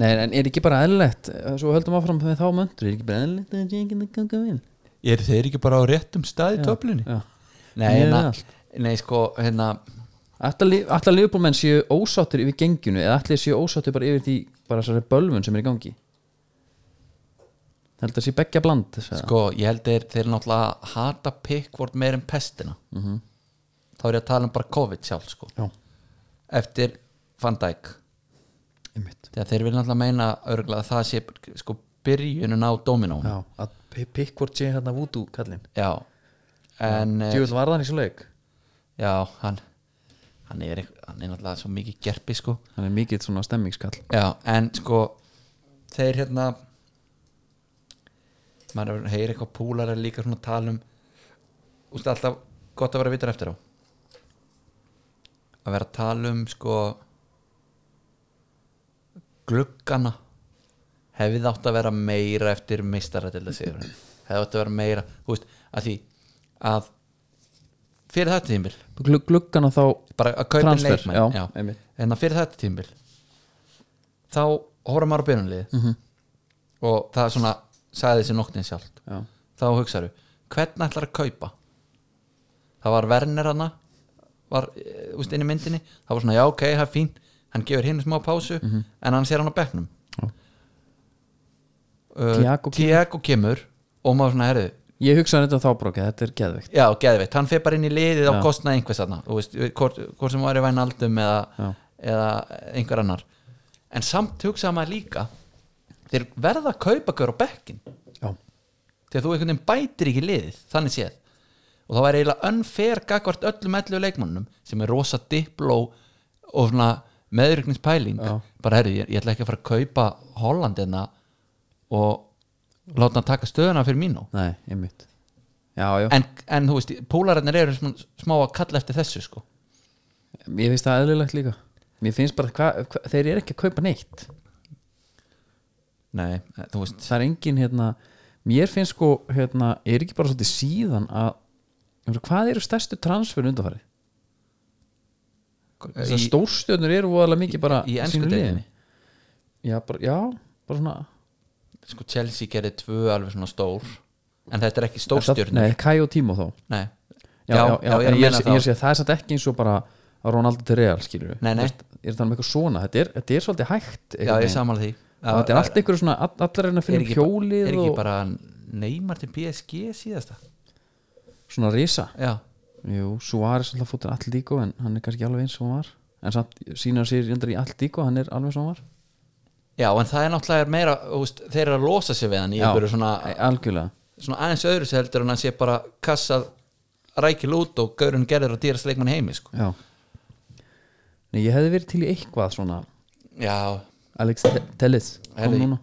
Nei, en er ekki bara eðlilegt eh, svo höldum áfram með þá möndur er ekki bara eðlilegt að það sé ekki að ganga vel
Er þeir ekki bara á réttum stað í töflunni?
já.
Nei,
Miðað við
hérna,
allt.
nei, sko, hérna
Alltaf liðbólmenn séu ósáttir yfir genginu eða allir séu ósáttir bara yfir því bara þessari bölvun sem er í gangi held að sé beggja bland sko.
Sko, ég held þeir, þeir náttúrulega hata pickvort meir en pestina -hmm. Þá er ég að tala um bara COVID sjálf sko.
Mhm. Já,
Eftir Van Dijk
Sko, einmitt
Þegar þeir vilja náttúrulega meina örgulega að það sé sko byrjunin á dominóin
Já, að Pickford sé hérna vútú kallinn
Já. En eh,
Djúvill var þannig svo leik
Já, hann hann er, eitth- hann er náttúrulega svo mikið gerpi sko
Hann er mikið svona stemmingskall
Já, en sko þeir hérna maður heyri eitthvað púlar að líka svona tala um úst, alltaf gott að vera vitur eftir á að vera að tala um sko gluggana hefði þátt að vera meira eftir meistara til þessi hefði þátt að vera meira þú veist, að því að fyrir þetta tímil
Glug, Gluggan og þá
bara að kaupa
Transfer,
leikmenn
já, einmitt.
en að fyrir þetta tímbil þá horfum maður á byrjunlið
Mhm.
-hmm. og það er svona sagði þessi nóttin sjálft
Já,
þá hugsaðu, hvern ætlar að kaupa það var Werner hana var, eh, úst, inn í myndinni það var svona, já ok, það er fín hann gefur hinn smá pásu, en hann sér hann á bekknum
Mhm. Já.
uh,
Thiago kemur.
Tiago kemur og maður svona, herðu,
ég hugsaði þetta þá brókið, þetta er geðvikt
já, geðveitt, hann fer bara inn í liðið á
Já.
kostnað einhvers aðna hvort, hvort sem var í Vænaldum eða,
Já.
eða einhver annar en samt hugsaði maður líka þeir verða að kaupa gaur á bekkin
Já,
þegar þú einhvern veginn bætir ekki liðið þannig séð og það væri eiginlega unfair gagvart öllum ellu leikmannum sem er rosa dipló og svona meðryknins pæling
Já.
bara herri, ég, ég ætla ekki að fara að kaupa Hollandina og láta hann taka stöðuna fyrir mínu
nei, einmitt Já, já,
en, en þú veist, púlararnir eru smá, smá að kalla eftir þessu sko
ég finnst það eðlilegt líka Mér finnst bara, hva, hva, þeir eru ekki að kaupa neitt
Nei, eh, þú veist
það er engin hérna mér finnst sko hérna er ekki bara svolítið síðan að ég meina, hvað eru stærstu transfer undanfæri þessar
í,
stórstjörnur eru voðalega mikið bara
í
á
ennsku
sínum liðum.
deginni
já, bara, já, bara svona
sko Chelsea gerði tvö alveg svona stór en þetta er ekki
Þetta-
stórstjörnur
nei, Kai og Timo þá
Nei,
já, já, já,
ég er
en
að
ég,
meina
ég,
þá
ég sé að það er satt ekki eins og bara að Ronaldo til Real skilur
Nei, nei.
ég er það um eitthvað svona, þetta er, þetta er svolítið hægt
Já, ég samanlega því
Já, þetta er allt einhverju svona, all- allar er að
er
finna
ekki,
um
bara-
hjólið
er ekki
og
bara neymar til PSG síðasta
svona risa
Já,
Jú, Suárez alltaf fóttur allt líko en hann er kannski alveg eins og hann var en samt sínar sér reyndar í allt líko hann er alveg svo hann var
já en það er náttúrulega meira úst, þeir eru að losa sig við hann í
Já,
einhverju svona,
e- algjörlega
svona aðeins öðru sem heldur en að sé bara kassað rækil út og gaurun gerður og dýrast leikmann í heimi sko.
já. Nei, ég hefði verið til í eitthvað svona
Já,
Alex Te- Telles kom
Herri.
núna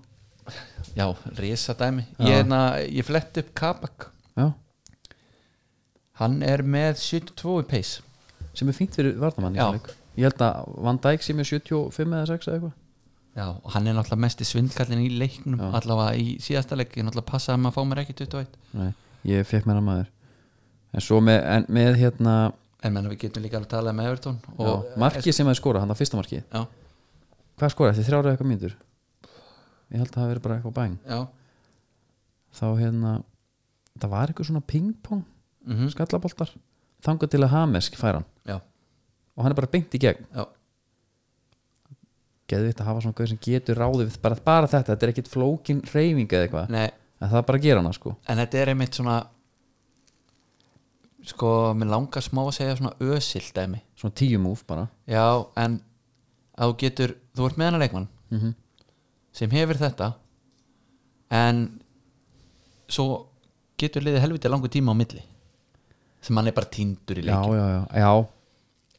já, risa dæmi Ég, hérna, ég flett upp Kabak
já.
Hann er með 72 í peis
sem er fínt fyrir vardamann í
Já.
þessum leik. ég held að Van Dijk sé með 75 eða 6 eða eitthvað
Já, og hann er náttúrulega mest í svindkallin í leiknum allavega í síðasta leik ég náttúrulega passaði að maður fá mér ekki 21
Nei, ég fekk mér að maður en svo með, en, með hérna
en menna við getum líka alveg talað með Evertón
já,
og,
markið sem hefði skorað, hann það fyrsta markið
já,
hvað skoraði, eftir þrjára eitthvað mínútur ég held að það veri bara eitthvað bæn
já,
þá hérna það var eitthvað svona ping-pong
Mhm.
skallaboltar, þangað til að Hamesk fær hann
já,
og hann er bara beint í gegn
já,
geðvitt að hafa svona gauð sem getur ráðið við bara, bara þetta, þetta er ekkit flókin reyfing eða eitthvað,
nei
en það er bara að gera hana sko
en þetta er einmitt svona sko, mér langar smá að segja svona ösil dæmi
svona tíu múf bara
já, en að þú getur þú ert með hana leikmann
Mhm.
sem hefur þetta en svo getur liðið helviti langur tíma á milli sem hann er bara týndur í
já,
leikjum
já, já, já,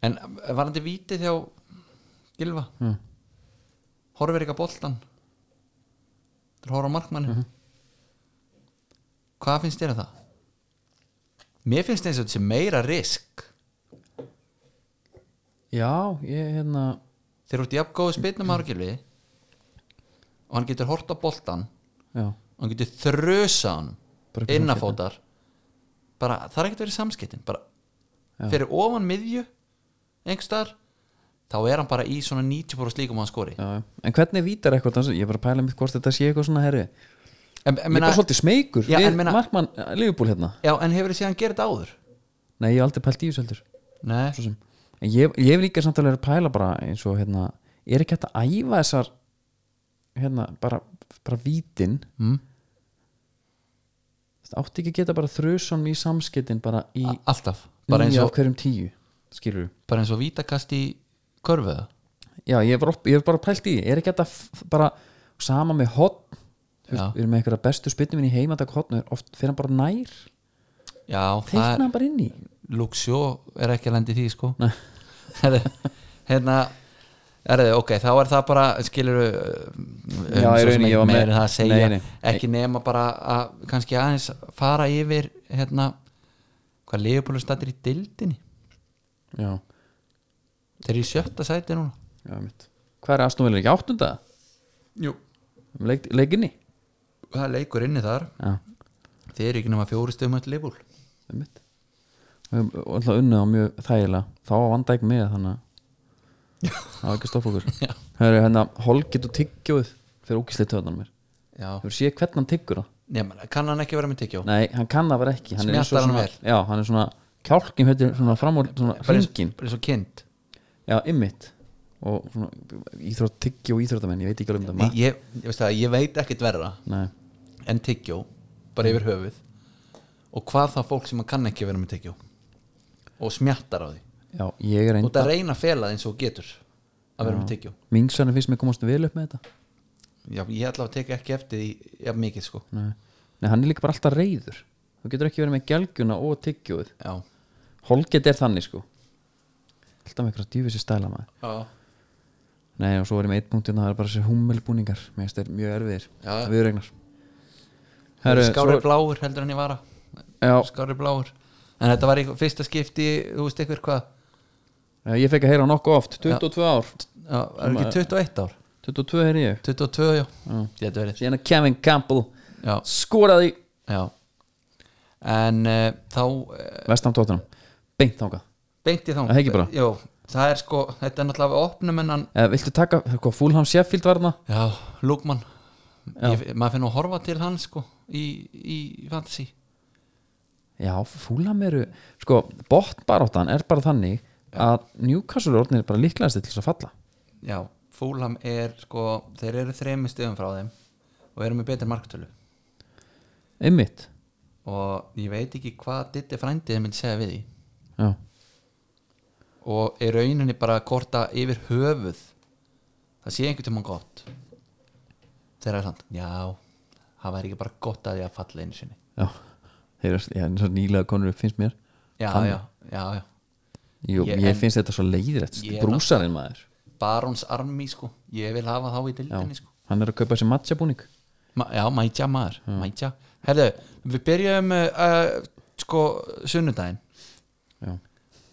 en varandi vítið hjá Gilva
Mm.
horfir ekki að boltan þú horfir á markmannin
Mhm.
hvað finnst þér að það? mér finnst eins og þetta sé meira risk
já ég hérna
þegar þú ert jafn góðu spilnum ára Gilvi og hann getur hort á boltan
já,
og hann getur þrösa hann
Bara ekki
innafótar bara, það er ekkert verið samskiptin bara
Já.
fyrir ofan miðju einhverstaðar þá er hann bara í svona 90% líkum að hann skori
já, já. en hvernig vítar eitthvað þannig, ég er bara að pæla mig hvort þetta sé eitthvað svona herri
en, en,
ég er
meina,
bara svolítið smeykur
Já,
við
en meina-
markmann lífbúl hérna
já, en hefur þið séð hann gera þetta áður
nei, ég hef aldrei pælt í þessu heldur
Nei.
svo sem En ég, ég hef líka samtalið að pæla bara eins og hérna, er ekki hægt að æfa þessar hérna, bara, bara vítin
Mm.
átti ekki að geta bara þrjusan í samskettin bara í
A- alltaf, bara eins
nýja
og,
af hverjum tíu skilur
bara eins og vítakast í körfuða
já ég hef, bara opp, ég hef bara pælt í því. er ekki þetta f- bara sama með hotn Þú
Já.
veist, við erum með einhverja bestu spynnum í heimatak hotn oft fyrir hann bara nær
já, það
teikna
er,
hann bara inn í
Luxjó er ekki að lendi því sko
Nei.
[laughs] Herðu, hérna Erðu, ok, þá er það bara um, skilur
Já, í rauninni, ég var með-
meira það að segja
Nei, nei, nei.
ekki nema bara að kannski aðeins fara yfir hérna hvað Leopold stættir í dildinni
já,
þeir eru í sjötta sæti núna
já mitt hvað er Aston Villa ekki áttunda
Jú.
leik, leikinni
það er leikur inni þar
já,
þeir eru ekki nema fjóri stöðum að Leopold
mitt og og alltaf unnið á mjög þægilega þá var vanda ekki með þannig að það var ekki að stoppa okkur
[laughs] Já.
það eru hérna holgit og tyggjóð fyrir ókislið töðan mér
já,
hefur séð hvernig hann tyggur það
nema, kann hann ekki vera með tyggjó
nei, hann kann það vera ekki hann er eins og svona,
Smjattar hann
já, hann er svona kjálkin heitir svona fram og svona
bara eins-
hringin
bara eins og kind
já, ymmit og svona íþrótt tyggjó íþróttamenn ég veit ekki alveg um það
ég, ég, veist það, ég veit ekkert verra
nei,
en tyggjó bara
Mm.
yfir höfuð og hvað það fólk sem að kann ekki vera með tyggjó og smjattar á því
já, ég er
og það
enda
reyna að fela það eins og þú getur að vera með tyggjó
mingsarinn finnst mér komast vel upp með þetta
já, ég ætla að teka ekki eftir því ja, mikið sko
nei. nei, hann er líka bara alltaf reyður þú getur ekki verið með gælgjuna og tyggjóð
já,
Holget er þannig sko Alltaf með eitthvað djúfis í stæla maður
já.
Nei og svo var ég með eitt punktinn að hérna, það er bara þessi hummelbúningar Mér finnst þeir mjög erfiðir
Já.
Viðregnar
skári bláur heldur en ég vara
Já,
skári bláur en þetta var eitthvað fyrsta skipti þú veist ykkur hvað
já, ég fekk að heyra nokkuð oft 22 ár
já, er ekki 21 ár
22 heyri ég
22 já,
Mm.
þetta verið
Síðan að Kevin Campbell
já,
skoraði
já en uh, þá uh,
Vestam tóttunum Beint þangað
beinti þá
Það er ekki bara.
Jó, það er sko, þetta er náttúrulega við opnum en hann
Eða Eh, viltu taka hvað Fulham Sheffield var þarna
já, Lúkmann Ég- maður finnur að horfa til hann sko í, í fantasy
Já, Fulham eru Sko, botnbaróttan er bara þannig að Newcastle er orðnir bara líklegast til þess að falla
já, Fúlham er sko þeir eru þremi stöðum frá þeim og eru með betri marktölu
Einmitt
og ég veit ekki hvað Ditti frændiði myndi segja við því
Já,
og er rauninni bara að korta yfir höfuð það sé einhvern tímann gott þeir eru samt, já það væri ekki bara gott að ég að falla einu sinni
Já, þeir eru já, eins og nýlega konur upp finnst mér
já,
Þannig.
já, já, já
Jú,
Ég-
ég,
en-
finnst þetta svo leiðrætt
Ég er
brúsarinn maður
Barons Army sko ég vil hafa þá í
já,
dildinni sko
hann er að kaupa sér matjabúning
Ma, já, mætja maður, mætja herðu, við byrjum uh, uh, sko sunnudaginn
Já.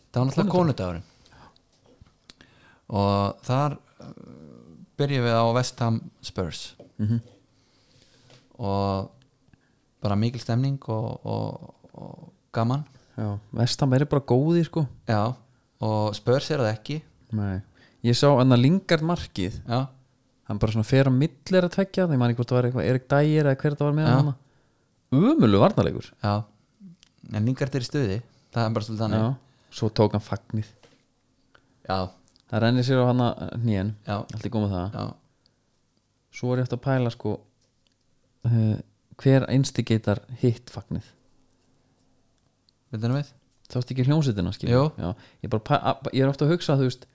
það var náttúrulega konudagurinn og þar uh, byrjum við á West Ham Spurs og bara mikil stemning og, og, og gaman
já, vestam er bara góði sko
já, og Spurs er það ekki
Nei. ég sá hann að lingard markið
já,
hann bara svona fer á millir að tvekja þegar maður hvort það var eitthvað Erik Dægir eða hver það var með
Já.
hann umölu varnarleikur
já en Lingard er í stuði, það er bara svolítið þannig
já, svo tók hann fagnið
já,
það rennir sér á hann að nýjan
já,
allt í góð með það
já.
svo er ég eftir að pæla sko uh, hver instigator hitt fagnið
Veitir hann við?
þá ertu ekki hljómsveitina
Jú.
skilur Já, ég, bara, pæ- að- ég er ofta að hugsa þú veist,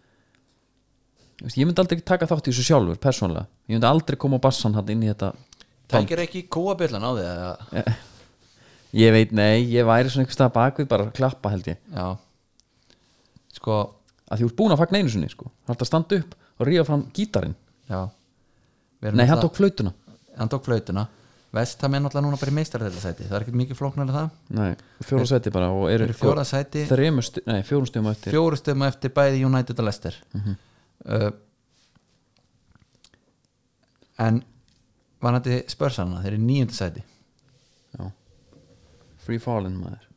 þú veist, ég myndi aldrei taka þátt í þessu sjálfur persónulega, ég myndi aldrei koma á bassan hann inn í þetta [laughs]
Tækir ekki kóabjöllan á því eða?
ég veit, nei, ég væri svona einhvers staðar bakvið bara að klappa held ég
Já Sko,
að því þú ert búin að fagna einu sinni sko. hann að standa upp og ríða fram gítarinn
já Við erum
nei, hann
náttúrulega-
tók flautuna
Hann tók flautuna Vestam er náttúrulega núna bara í meistarðarðarsæti Það er ekki mikið flóknar en það
nei, fjóra seti bara og eru
Þeir eru fjóra sæti.
þremur stu, nei, fjórum stjum eftir
Fjóru stöðum eftir bæði United og Leicester
Mhm.
uh, En var hann þetta spörsanna Þeir eru nýjöndu sæti
Já. free falling maður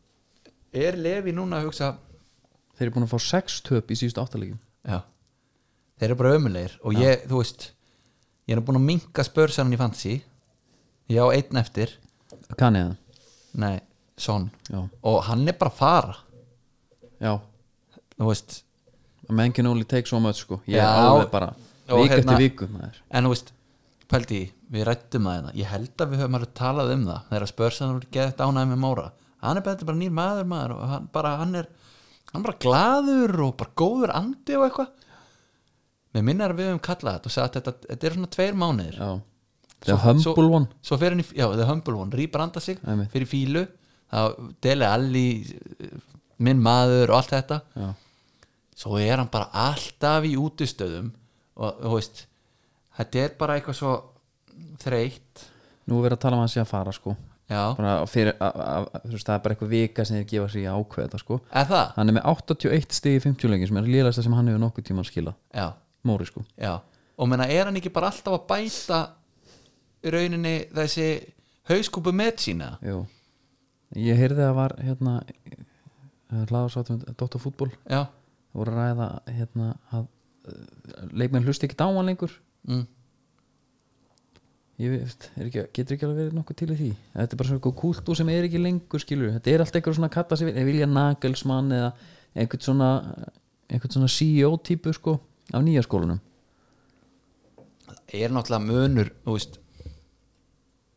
Er Levi núna að hugsa
þeir eru búin að fá sex töp í síðustu áttalegum
Já Þeir eru bara ömulegir og ég, þú veist Ég er búin að minka spörsannan í fantasy Ég á einn eftir
kannið það,
Nei, Son
já,
og hann er bara að fara
já
þú veist
menn can only take so much sko ég
Já.
er alveg bara
Og
viku
hérna-
eftir viku maður
en þú veist pældi í, við rættum það hérna ég held að við höfum alveg talað um það þegar spörsan voru gett ánæði með Móra hann er betur bara nýr maður maður og hann bara, hann er hann er bara glaður og bara góður andi og eitthvað með minnar við höfum kallað þetta og sagði að þetta, þetta er svona tveir mánuðir
já The Humble One
svo fer hann í, já, The Humble One, rýbranda sig
Einmitt.
fyrir fílu, þá deli alli minn maður og allt þetta
Já.
svo er hann bara alltaf í útistöðum og þú veist þetta er bara eitthvað svo þreytt
Nú er verið að tala um að hann sé að fara sko
já,
bara fyrir, a, a, a, þú veist, það er bara eitthvað vika sem þeir gefa sér í að ákveða þetta sko
er það?
Hann er með 81 stig í 50 leikin sem er lélast það sem hann hefur nokkuð tíma að skila
já,
Móri sko
já og menna er hann ekki bara alltaf að bæta í rauninni þessi hauskúpu með sína
Jú. Ég heyrði að var hérna hlaðarsátt um Dóttar fútból
já,
Það voru að ræða hérna að eh, leikmenn hlusti ekki dáan lengur
mm.
ég veist, er ekki, getur ekki alveg verið nokkuð til í því þetta er bara svona eitthvað kultú sem er ekki lengur skilur, þetta er allt eitthvað svona katta sem vilja, vilja nagelsmann eða einhvern svona einhvern svona CEO típu sko af nýja skólanum
er náttúrulega munur þú veist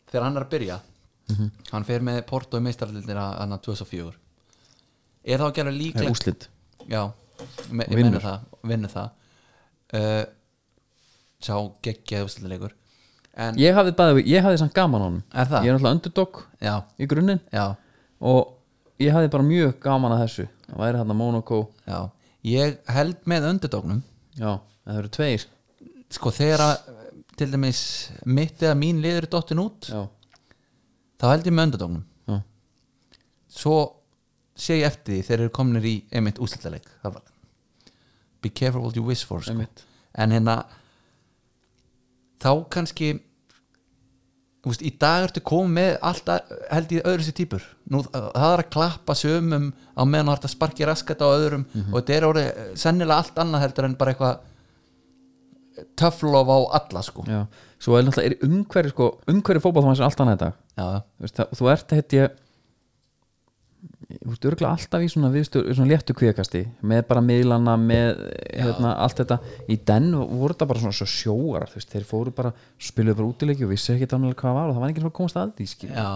þegar hann er að byrja hann fer með Porto í meistaraldildina hann að 2004 er þá ekki alveg
það er
líklegt
úslit
já, me, ég
Vinnur.
menna það vinnur það uh, sá geggjaði ústildarleikur en
ég hafði, bæði, ég hafði samt gaman á honum ég
Er það?
er náttúrulega underdog
já,
í grunninn
já,
og ég hafði bara mjög gaman að þessu það væri hérna Monaco
já ég held með öndudóknum
já, það eru tveir
sko þegar að til dæmis mitt eða mín liður er dottin út
já,
þá held ég með öndudóknum
já,
svo sé ég eftir því þeir eru komnir í einmitt úsildaleik be careful what you wish for sko.
Einmitt.
en hérna þá kannski úst, í dag ertu komið með allt að, held ég öðru sér týpur Nú, það er að klappa sömum á meðan það er að sparki raskat á öðrum og þetta er orðið eh, sennilega allt annað heldur en bara eitthvað töflof á alla sko já,
já svo er náttúrulega er umhverju sko umhverju fótballþámas er allt annað þetta
já,
þú, veist, það, þú ert heit ég þú ert örgulega alltaf í svona, viðstöð, svona léttu kvíkasti með bara miðlana með hérna, allt þetta í den voru þetta bara svona svo sjóar veist, þeir fóru bara, spiluðu bara útileiki og vissi ekki þannig hvað var og það var enginn sem komast að því skilur.
já,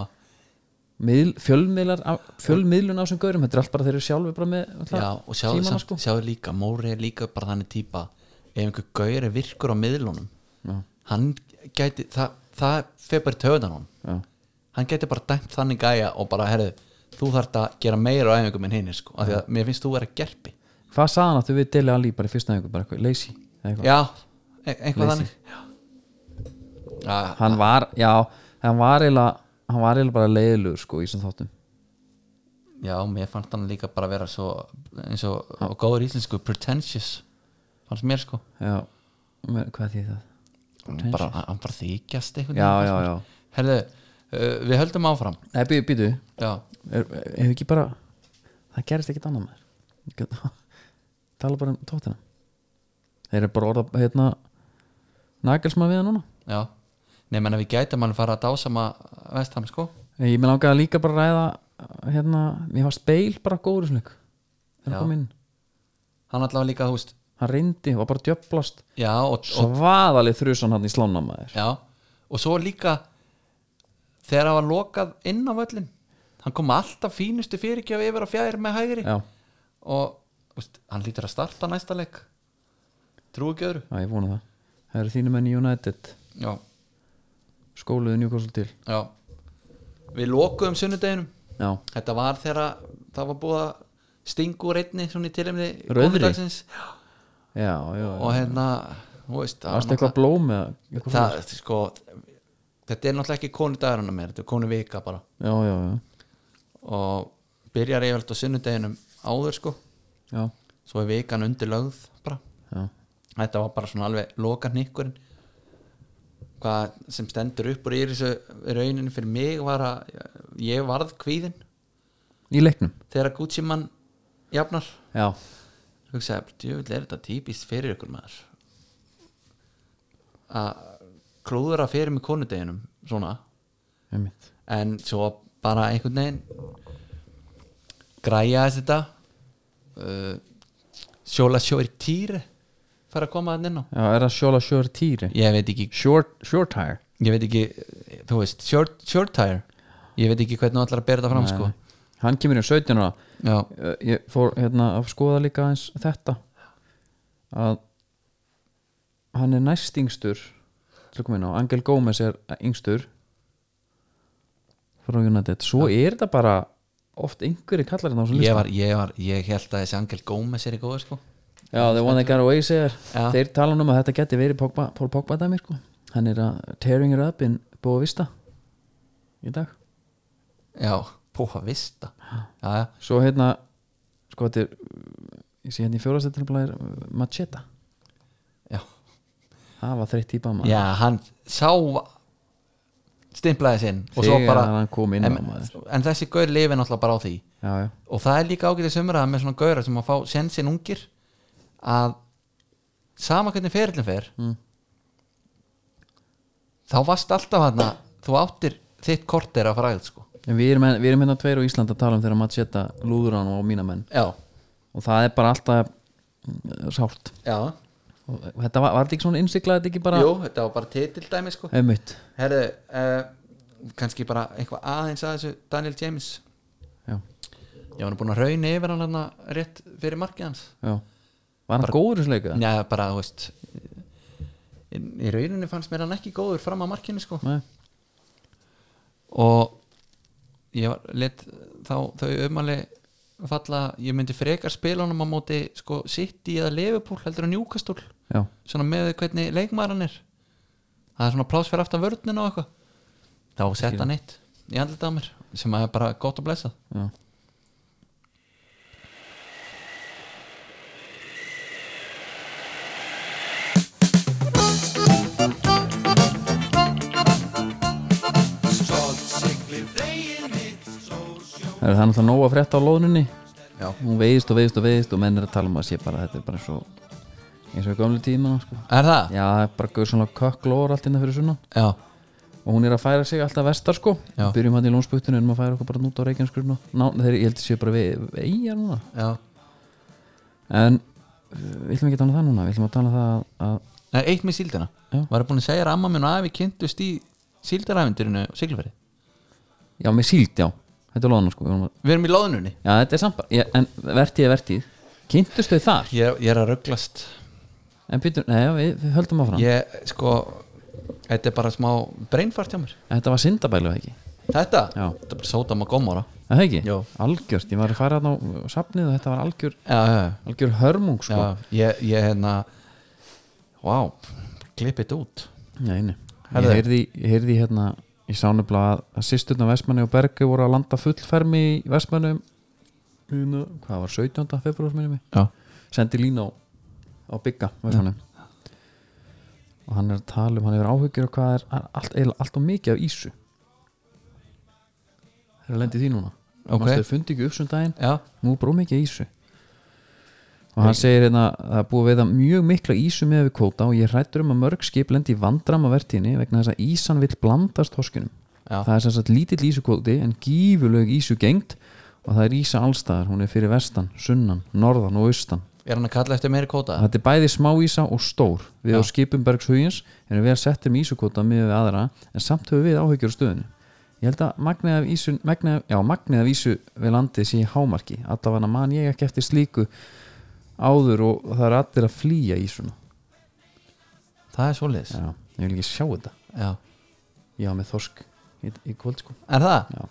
Miðl, fjölmiðlar á- fjölmiðlun á sem gaurum, þetta er allt bara þeir eru sjálfi bara með alltaf
já og sjáðu,
símana, sko.
samt, sjáðu líka Móri er líka bara þannig týpa ef einhver gaur er virkur á miðlunum
Já.
hann gæti það, það fer bara í töðan hún
Já.
hann gæti bara dæmt þannig gæja og bara herðu, þú þarft að gera meira á æfingum en hinnir sko, af því að mér finnst þú vera gerpi
hvað saðan að þú við deli allir bara í fyrsta einhver, bara eitthvað, leysi eitthvað.
já, e- eitthvað
Leysi.
þannig já, já,
hann var, já, hann var eiginlega hann var eiginlega bara leiðilegur sko í þessum þáttum
já, mér fannst hann líka bara vera svo eins og, og góður íslensku pretentious fannst mér sko
já, með- hvað því það?
bara, hann bara þykjast einhvern
Já,
veginn.
já, já.
herðu, uh, við höldum áfram
Nei, býtu, býtu
já,
er, er ekki bara það gerist ekkit annað maður Ég get- [laughs] tala bara um tóttina þeir eru bara orða hérna nagelsmann við það núna
já Nei, menn að við gætum alveg fara að dásama vestam sko
ég með langaði líka bara að ræða hérna, mér var speil bara góður í þessum leik. þegar
Já.
hann kom inn,
hann allavega líka, þú veist
hann reyndi, var bara djöblast
já, og, og,
svaðalið þrjusan hann í slána maður
já, og svo líka þegar hann var lokað inn á völlin hann kom alltaf fínustu fyrirgjöf yfir á fjær með hægri
já,
og þú veist, hann lítur að starta næsta leik trúi ekki öðru
já, ég vona það það eru þínu menn í United
já,
skóluðu njúkoslu til
já við lokuðum sunnudeginum
já,
þetta var þegar það var búið að stingu úr einni svona í tilimni
Rauðri? já, já, já.
og hérna, þú veist það var
varstu eitthvað blóm eða eitthvað
það, sko, þetta er náttúrulega ekki konu dagarana mér, þetta er konu vika bara
já, já, já,
og byrjar eiginlega á sunnudeginum áður sko,
já,
svo er vikan undir lögð bara,
já.
þetta var bara svona alveg lokan ykkurinn hvað sem stendur upp úr í þessu rauninni fyrir mig var að ég varð kvíðin
í leiknum
þegar Gucci mann jafnar
já,
hugsaði, djöfull er þetta típist fyrir ykkur maður að klúðra fyrir mig konudeginum svona
einmitt
en svo bara einhvern veginn græja þetta uh, sjóla sjóir týri fara að koma þann inn á
Já, er það sjóla sjór týri?
ég veit ekki,
Short, short tire
ég veit ekki þú veist, short, short tire ég veit ekki hvernig þú ætlar að bera þetta fram sko.
Hann kemur í 17 ára
já,
Eh, Ég fór hérna að skoða líka eins þetta að hann er næst yngstur til að koma inn á, Angel Gómez er yngstur frá United svo er þetta bara oft einhverju kallar hérna á þessum
ég
lista
var, ég var ég held að þessi Angel Gómez er í góður sko.
Já, the one that got away segir
Já.
Þeir tala nú um að þetta geti verið Pogba, Paul Pogba dæmi sko Hann er að tearing her up in Boa Vista í dag
já, búa vista já, já,
Svo hérna sko þetta er ég sé hérna í fjórastættilblæðir Macheta
já,
Það var þreytt típa maður
já hann sá stimplaði sinn og svo
Þegar
bara
hann kom inn á
en,
maður
en þessi gaur lifi náttúrulega bara á því
Já, já,
og það er líka ágætið sömurað með svona gaurar sem að fá sensin ungir að sama hvernig ferillin fer
Mm.
þá varst alltaf hann þú áttir þitt kortir að fara að sko.
en við erum, við erum hérna tveir á Ísland að tala um þegar Macheta lúður hann á mína menn
já,
og það er bara alltaf mm, sárt
já
og þetta var, var þetta ekki svona innsiklað þetta ekki bara
Jú, þetta var bara titildæmi sko.
Einmitt.
Herðu, uh, kannski bara eitthvað aðeins að þessu Daniel James
Já,
ég var nú búin að rauna yfir hann hana rétt fyrir markið hans
já Var hann góður í sleika?
Nei, bara, þú veist í, í rauninni fannst mér hann ekki góður fram að markinu sko.
Nei.
og ég var, let þá þau umali falla ég myndi frekar spila honum á móti sko, City eða Liverpool heldur að Newcastle
Já,
svona með því hvernig leikmaður hann er það er svona plás fyrir aftan vörnina og eitthvað þá sett hann eitt í andlita á mér sem er bara gott að blessa
já Það er það náttúrulega nóg að frétta á lóðninni
Já.
Hún veiðist og veiðist og veiðist og menn er að tala um að sé bara þetta er bara svo eins og í gömlu tíma sko.
er það?
Já, það er bara gauð svona kökklóður allt innan fyrir sunna
já,
og hún er að færa sig alltaf vestar sko
Já.
byrjum hann í lónspuktinu en maður færa okkur bara nút á Reykjanesgrunna Ná, þeir, ég held að séu bara við eigjar núna
já.
en uh, við ætlum ekki að tala um það núna við ætlum að tala um það að, að
Nei, eitt með síldina
Já.
var ég búin að segja að amma minn og afi kynntust í síldaræfindurinu og siglfæri
já, með síld, já, þetta er loðan sko Við vorum að-
við erum í loðnunni
já, þetta er samt bara, ég, en vertið er vertið kynntust þau þar,
ég, er- ég er að rugglast
en Pétur, neða, við, við höldum áfram
ég, sko, þetta er bara smá breinfart hjá mér
þetta var syndabælu ekki,
þetta,
Já.
þetta er bara sótam og gómóra
er það ekki?
Jó.
algjört, ég var að fara þarna á á safnið og þetta var algjör,
já, já, já.
algjör hörmung sko,
já ég, ég hérna wow, klippið út
Nei, nei. Ég,
Herðu.
heyrði, ég heyrði hérna ég sá nefnilega að, að sýsturna Vestmanni og Bergi voru að landa fullfermi í Vestmanni hérna, hvað var 17. februar minni mig
já,
sendi lína á, á bygga Vestmanni og hann er að tala um, hann hefur áhyggjur og hvað er hann er allt, eiginlega allt og mikið af ísu það er að lendi því núna
Ok.
Manstu, þau fundi ekki upp sem daginn
já,
nú er bara mikið ísu og hann segir hérna að það er búið að veiða mjög mikla ísu með við kvóta og ég hrættur um að mörg skip lendi í vandram að vertíðinni vegna þess að ísan vill blandast hoskunum
Já.
það er sem sagt lítill ísukvóti en gífurleg ísu gengt og það er ísa allstaðar, hún er fyrir vestan, sunnan, norðan og austan
er hann að kalla eftir meiri kóta
þetta er bæði smá ísa og stór við á skipum Bergshugins erum við að setja um ísukvóta með við aðra en samt höfum við áhyggjur á stöðinu ég held að magnið af ísu, magnið, af- já, magnið af ísu við landið sé í hámarki allavega man ég ekki eftir slíku áður og það er allir að flýja ísuna
það er svoleiðis já.
já, ég vil ekki sjá þetta ég á með þorsk í, í kvöld sko
er það?
já.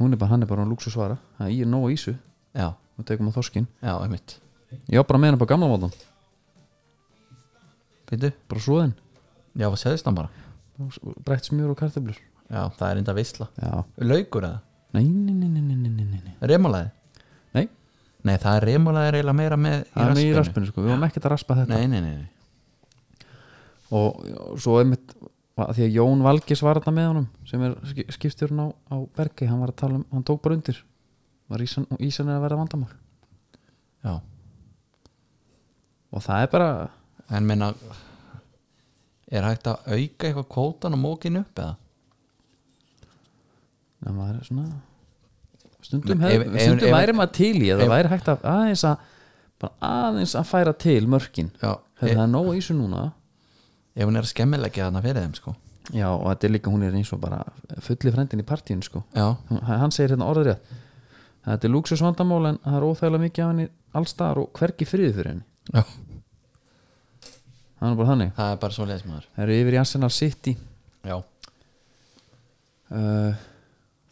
hún er bara, hann er bara á lúksusvara það er ég er nóg af ísu
já,
og tekum á þorskin
já, einmitt
ég á bara með hann upp á gamla mótan
Býtu?
bara svoðin,
já, hvað segðist hann bara?
brett smjör og kartöflur
já, það er enda visla
já,
laukur eða?
Nei, nei, nei, nei, nei, nei, nei, nei.
Remalæði?
nei
nei, það er remalæði er eiginlega meira með
það er með í raspinu sko, við varum ekkert að raspa þetta
nei, nei, nei, nei.
og, og svo einmitt, að því að Jón Valgis var þetta með honum, sem er sk- skipstjórinn á, á Bergi, hann var að tala um hann tók bara undir, var ísan, ísan er að vera vandamál
já
og það er bara,
en meina er hægt að auka eitthvað kótan og mókin upp eða?
já, maður er svona stundum,
Ef-
hef,
ef-
stundum
ef-
væri maður til í að það væri hægt að aðeins að bara aðeins að færa til mörkin
Já.
Hefði það er nóg í þessu núna
E- ef hún er að skemmilegja þarna fyrir þeim sko
já og þetta er líka hún er eins og bara fulli frendin í partíun sko
já,
Hún- hann segir hérna orðrið þetta er lúksusvandamál en það er óþægilega mikið af henni allstaðar og hvergi friði fyrir henni
já.
það er nú bara þannig
það er bara svo leismæður
það eru yfir í Arsenal City
já,
uh,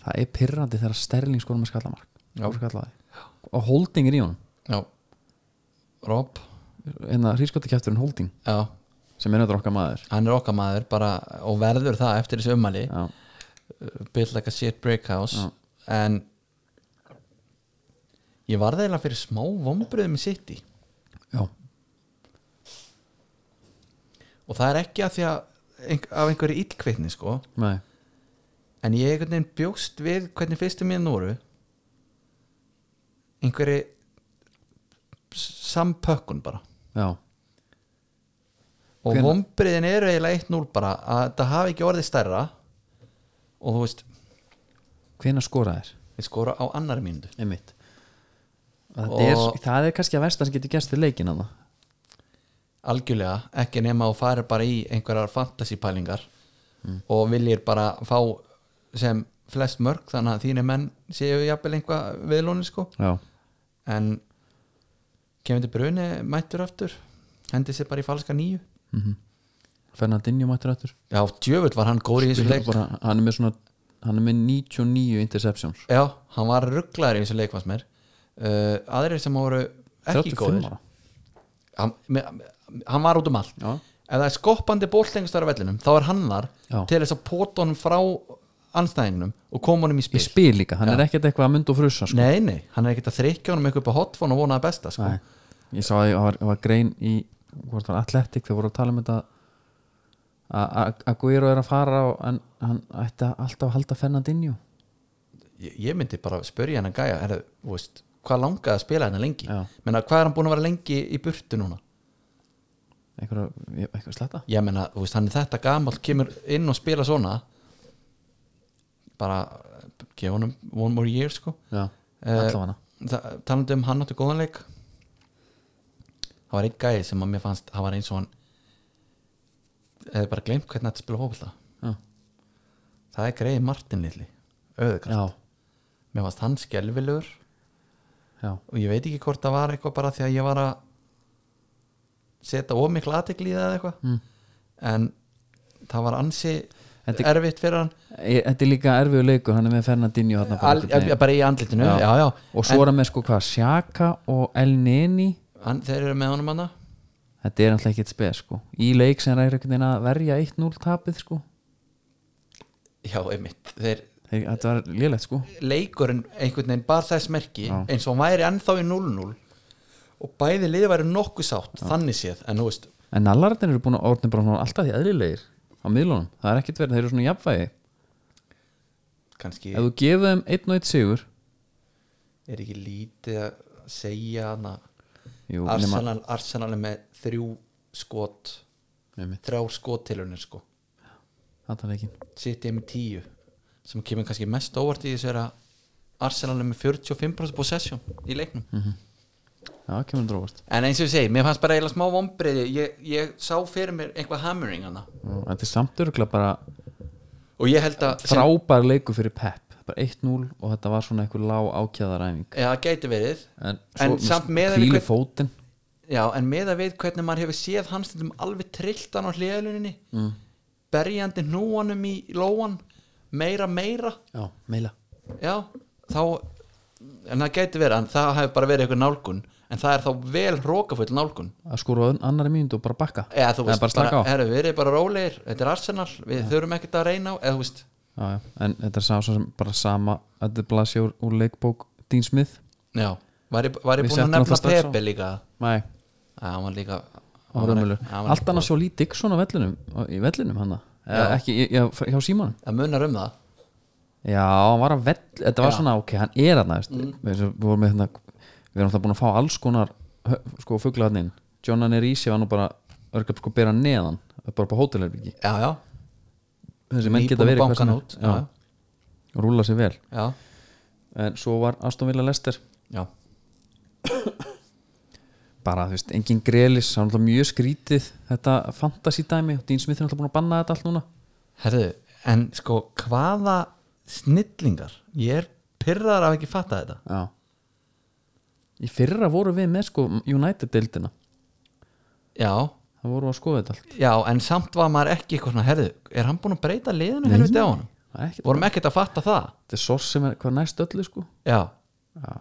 það er pirrandi þegar Sterling skorum að skalla
Já.
mark og holding er í honum
já Rob,
en það hrískotakjæfturinn holding
já,
sem er nöður okkar maður
hann er okkar maður bara, og verður það eftir þessu ummæli
já,
built like a shit breakhouse en ég varð eiginlega fyrir smá vombriðum í City
já,
og það er ekki að því að einh- af einhverju illkveitni sko
nei
en ég einhvern veginn bjóst við hvernig fyrstu mín voru einhverju sampökkun bara
já,
og
Hvenær-
vombriðin eru eiginlega 1-0 bara að það hafi ekki orðið stærra og þú veist,
hvena skora þér
við skora á annari mínútu
einmitt og...
Og-
er, það er kannski að versta sem getur gerst til leikin að
algjörlega, ekki nema og fari bara í einhverjar fantasípælingar og viljir bara fá sem flest mörg þannig að þínir menn séu jafnvel einhvað viðlóni sko
já,
en kemur til bruni mættur aftur hendi sér bara í falska nýju
Fernandinho mættur aftur
já, djöfull var hann góður í þessu leik
bara, hann er með svona hann er með 99 interceptions
já, hann var rugglaður í þessu leik fannst mér uh, aðrir sem voru ekki
35
góðir
ára.
hann, me- hann var út um allt
Já.
ef það er skoppandi bólt einhvers staðar á vellinum þá er hann þar
Já.
til þess að póta honum frá anstæðingnum og koma honum í spil
í spil líka, hann er ekkert eitthvað að mynd og frussa sko.
nei, nei, hann er ekkert að þrykja honum eitthvað upp á hotfón og vona það besta sko.
Nei, ég sá að það var, var grein í hvort það var Atletic þegar voru að tala um þetta að- að Aguero er að fara á, en hann ætti að alltaf að halda Fernandinho
ég, ég myndi bara spörja hann að gæja er, veist, hvað langaði að spila hennar lengi
Já.
menna, hvað er hann búin að vera lengi í burtu núna
eitthvað, eitthvað sletta
ég menna, þú veist, hann er þetta gamall kemur inn og spila svona bara gefa honum one more year sko
já,
Eh,
allavega
Þa- talandi um hann átti góðan leik það var einn gæði sem að mér fannst það var eins og hann eða bara gleymt hvernig þetta spila hófla
Já.
það er greiði Martin Lilli auðvitað,
já,
mér fannst hann skelvilegur
já,
og ég veit ekki hvort það var eitthvað bara því að ég var að setja ómikla aðtekli í það eða eitthvað
Mm.
en það var ansi
Þetta-
erfitt fyrir hann
Ég- þetta er líka erfiðu leikur, hann er með Fernandinho hann bara,
Al,
einhvern veginn.
bara í andlitinu
Já.
já. Já,
og svo er hann með sko hvað, Sjaka og El Neni
hann, þeir eru með honum hann
þetta er alltaf ekkert speð sko í leik sem er einhvern veginn að verja 1-0 tapið sko
já, einmitt, þeir
Þeir- þetta var lélegt sko
leikurinn einhvern veginn bar þess merki
Já.
eins og hann væri ennþá í 0-0 og bæði liði væri nokkuð sátt þannig séð, en þú veist
En nallararnir eru búin að orðin bara svona alltaf því eðlilegir á miðlunum, það er ekkert verið, þeir eru svona jafnvægi
kannski
Ef þú gefur þeim einn og einn sigur
er ekki lítið að segja hana
Jú,
Arsenal, Arsenal er með þrjú skot
nema,
þrjár skottilunir sko
það er ekki
City er með tíu sem kemur kannski mest óvart í þessu er að Arsenal er með 45% possession í leiknum
Já, kemur drófast
en eins og ég segi, mér fannst bara eiginlega smá vombriði ég, ég sá fyrir mér einhvað hammering hana
Þetta er samt örgulega bara
og ég held að sem-
frábær leiku fyrir Pep bara 1-0 og þetta var svona einhver lág ákjæðaræfing
Já, það gæti verið
En,
En samt með
hvíli
einhver-
fótinn
Já, en með að við hvernig maður hefur séð hans stundum alveg trilltan á hliðaluninni mm. berjandi núanum í lóan meira meira
Já, meila
já, þá en það gæti verið, en það hefur bara verið eitthvað nálgun en það er þá vel hrókafull nálgun
Að skora á annari mínútu og bara bakka
eða þú veist,
bara slaka á
herru, við erum bara rólegir þetta er Arsenal, við þurfum ekkert að reyna á eða þú veist,
já, já. En þetta er sá svo sem bara sama Þetta er blasja úr, úr leikbók Dean Smith
já, var ég, var
Við
ég búin
settum
að nefna
alltaf strax á.
Pepe líka
Nei,
að hann var líka
og römmulu allt annars svo lít Dixon á vellinum í vellinum hann
Já.
ekki, í- já, hjá Símonum
að munar um það
já, hann var að vell, þetta var
Já.
svona ok, hann er hann mm. við, við vorum með hérna við erum alltaf búin að fá alls konar hö- sko fuglaðnin, John Anerisi var nú bara örgum sko bera neðan bara på hótelherbyggi,
já, já,
þessi menn geta verið hvað sem
bankan
er.
út já,
já, rúla sér vel
já,
en svo var Aston Villa Lester
já.
bara, þú veist, engin grelis það er náttúrulega mjög skrítið þetta fantasy dæmi og Dean Smith er náttúrulega búin að banna þetta allt núna
Herðu, en sko hvaða snillingar ég er pyrraðar af ekki fatta þetta
Já Í fyrra voru við með sko United-deildina
Já,
Það voru að skoða þetta allt
já, en samt var maður ekki eitthvað svona, herðu, er hann búinn að breyta liðinu helviti á honum?
Það er ekkert
Vorum ekkert að fatta það
Þetta er sors sem er hvað næst öllu sko
Já,
Já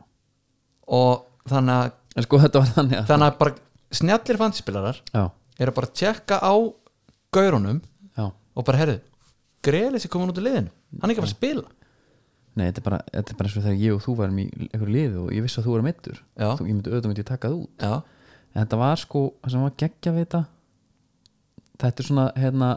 og þannig að
En sko þetta var þannig að
þannig að bara snjallir fantasyspilarar
Já,
eru bara að tjekka á gaurunum
já
og bara, herðu, greiðlis er komin út í liðinu hann er ekki að fara að spila
Nei, þetta er bara, þetta er bara eins og þegar ég og þú varum í einhverju liði og ég vissi að þú varum meittur
Já.
Þú, ég myndi auðvitað myndi ég taka þú
Já,
En þetta var sko, það sem var geggja við þetta Þetta er svona, hérna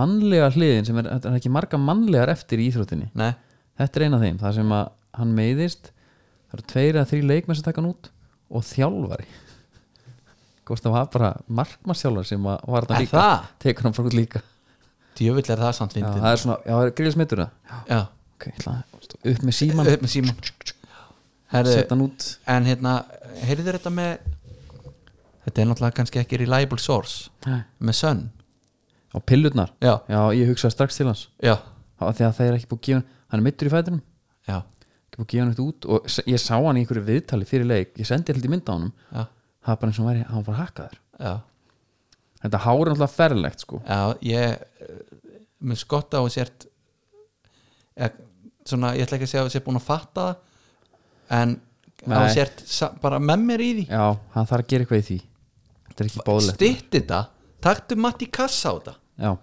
mannlega hliðin sem er, þetta er ekki marga mannlegar eftir í íþróttinni
nei,
Þetta er eina af þeim, það sem að hann meiðist það eru tveir eða þrý leikmenn sem taka hann út og þjálfari [laughs] Hvort það var bara markmannsþjálfari sem að var þetta
Er
líka
það?
tekur hann frá út líka já,
djöfull er það samt
það
fyndið
er svona, já, það er grillis meittur það
Já,
ok, ég ætla að- upp með síman,
upp með síman
setja
Herðu,
hann út
en hérna, heyrðu þetta með þetta er náttúrulega kannski ekki reliable source
Nei.
með Sun
á pillurnar,
Já,
já, ég hugsaði strax til hans
já,
af því að það er ekki búið að gefa hann hann er meittur í fætinum,
já,
ekki búið að gefa hann eitt út og s- ég sá hann í einhverju viðtali fyrir leik ég sendi held í mynd á honum,
já,
það var bara eins og hann væri, hann var bara hakkaður
já.
þetta hár er náttúrulega ferlegt sko
Já, ég eh, með skotta og sért ég, svona, ég ætla ekki að segja að ég sé búin að fatta það en
Nei.
að sért sa- bara með mér í því
Já, hann þarf að gera eitthvað í því Þetta er ekki bóðlegt
stitt þetta, taktu matt í kassa á þetta
Já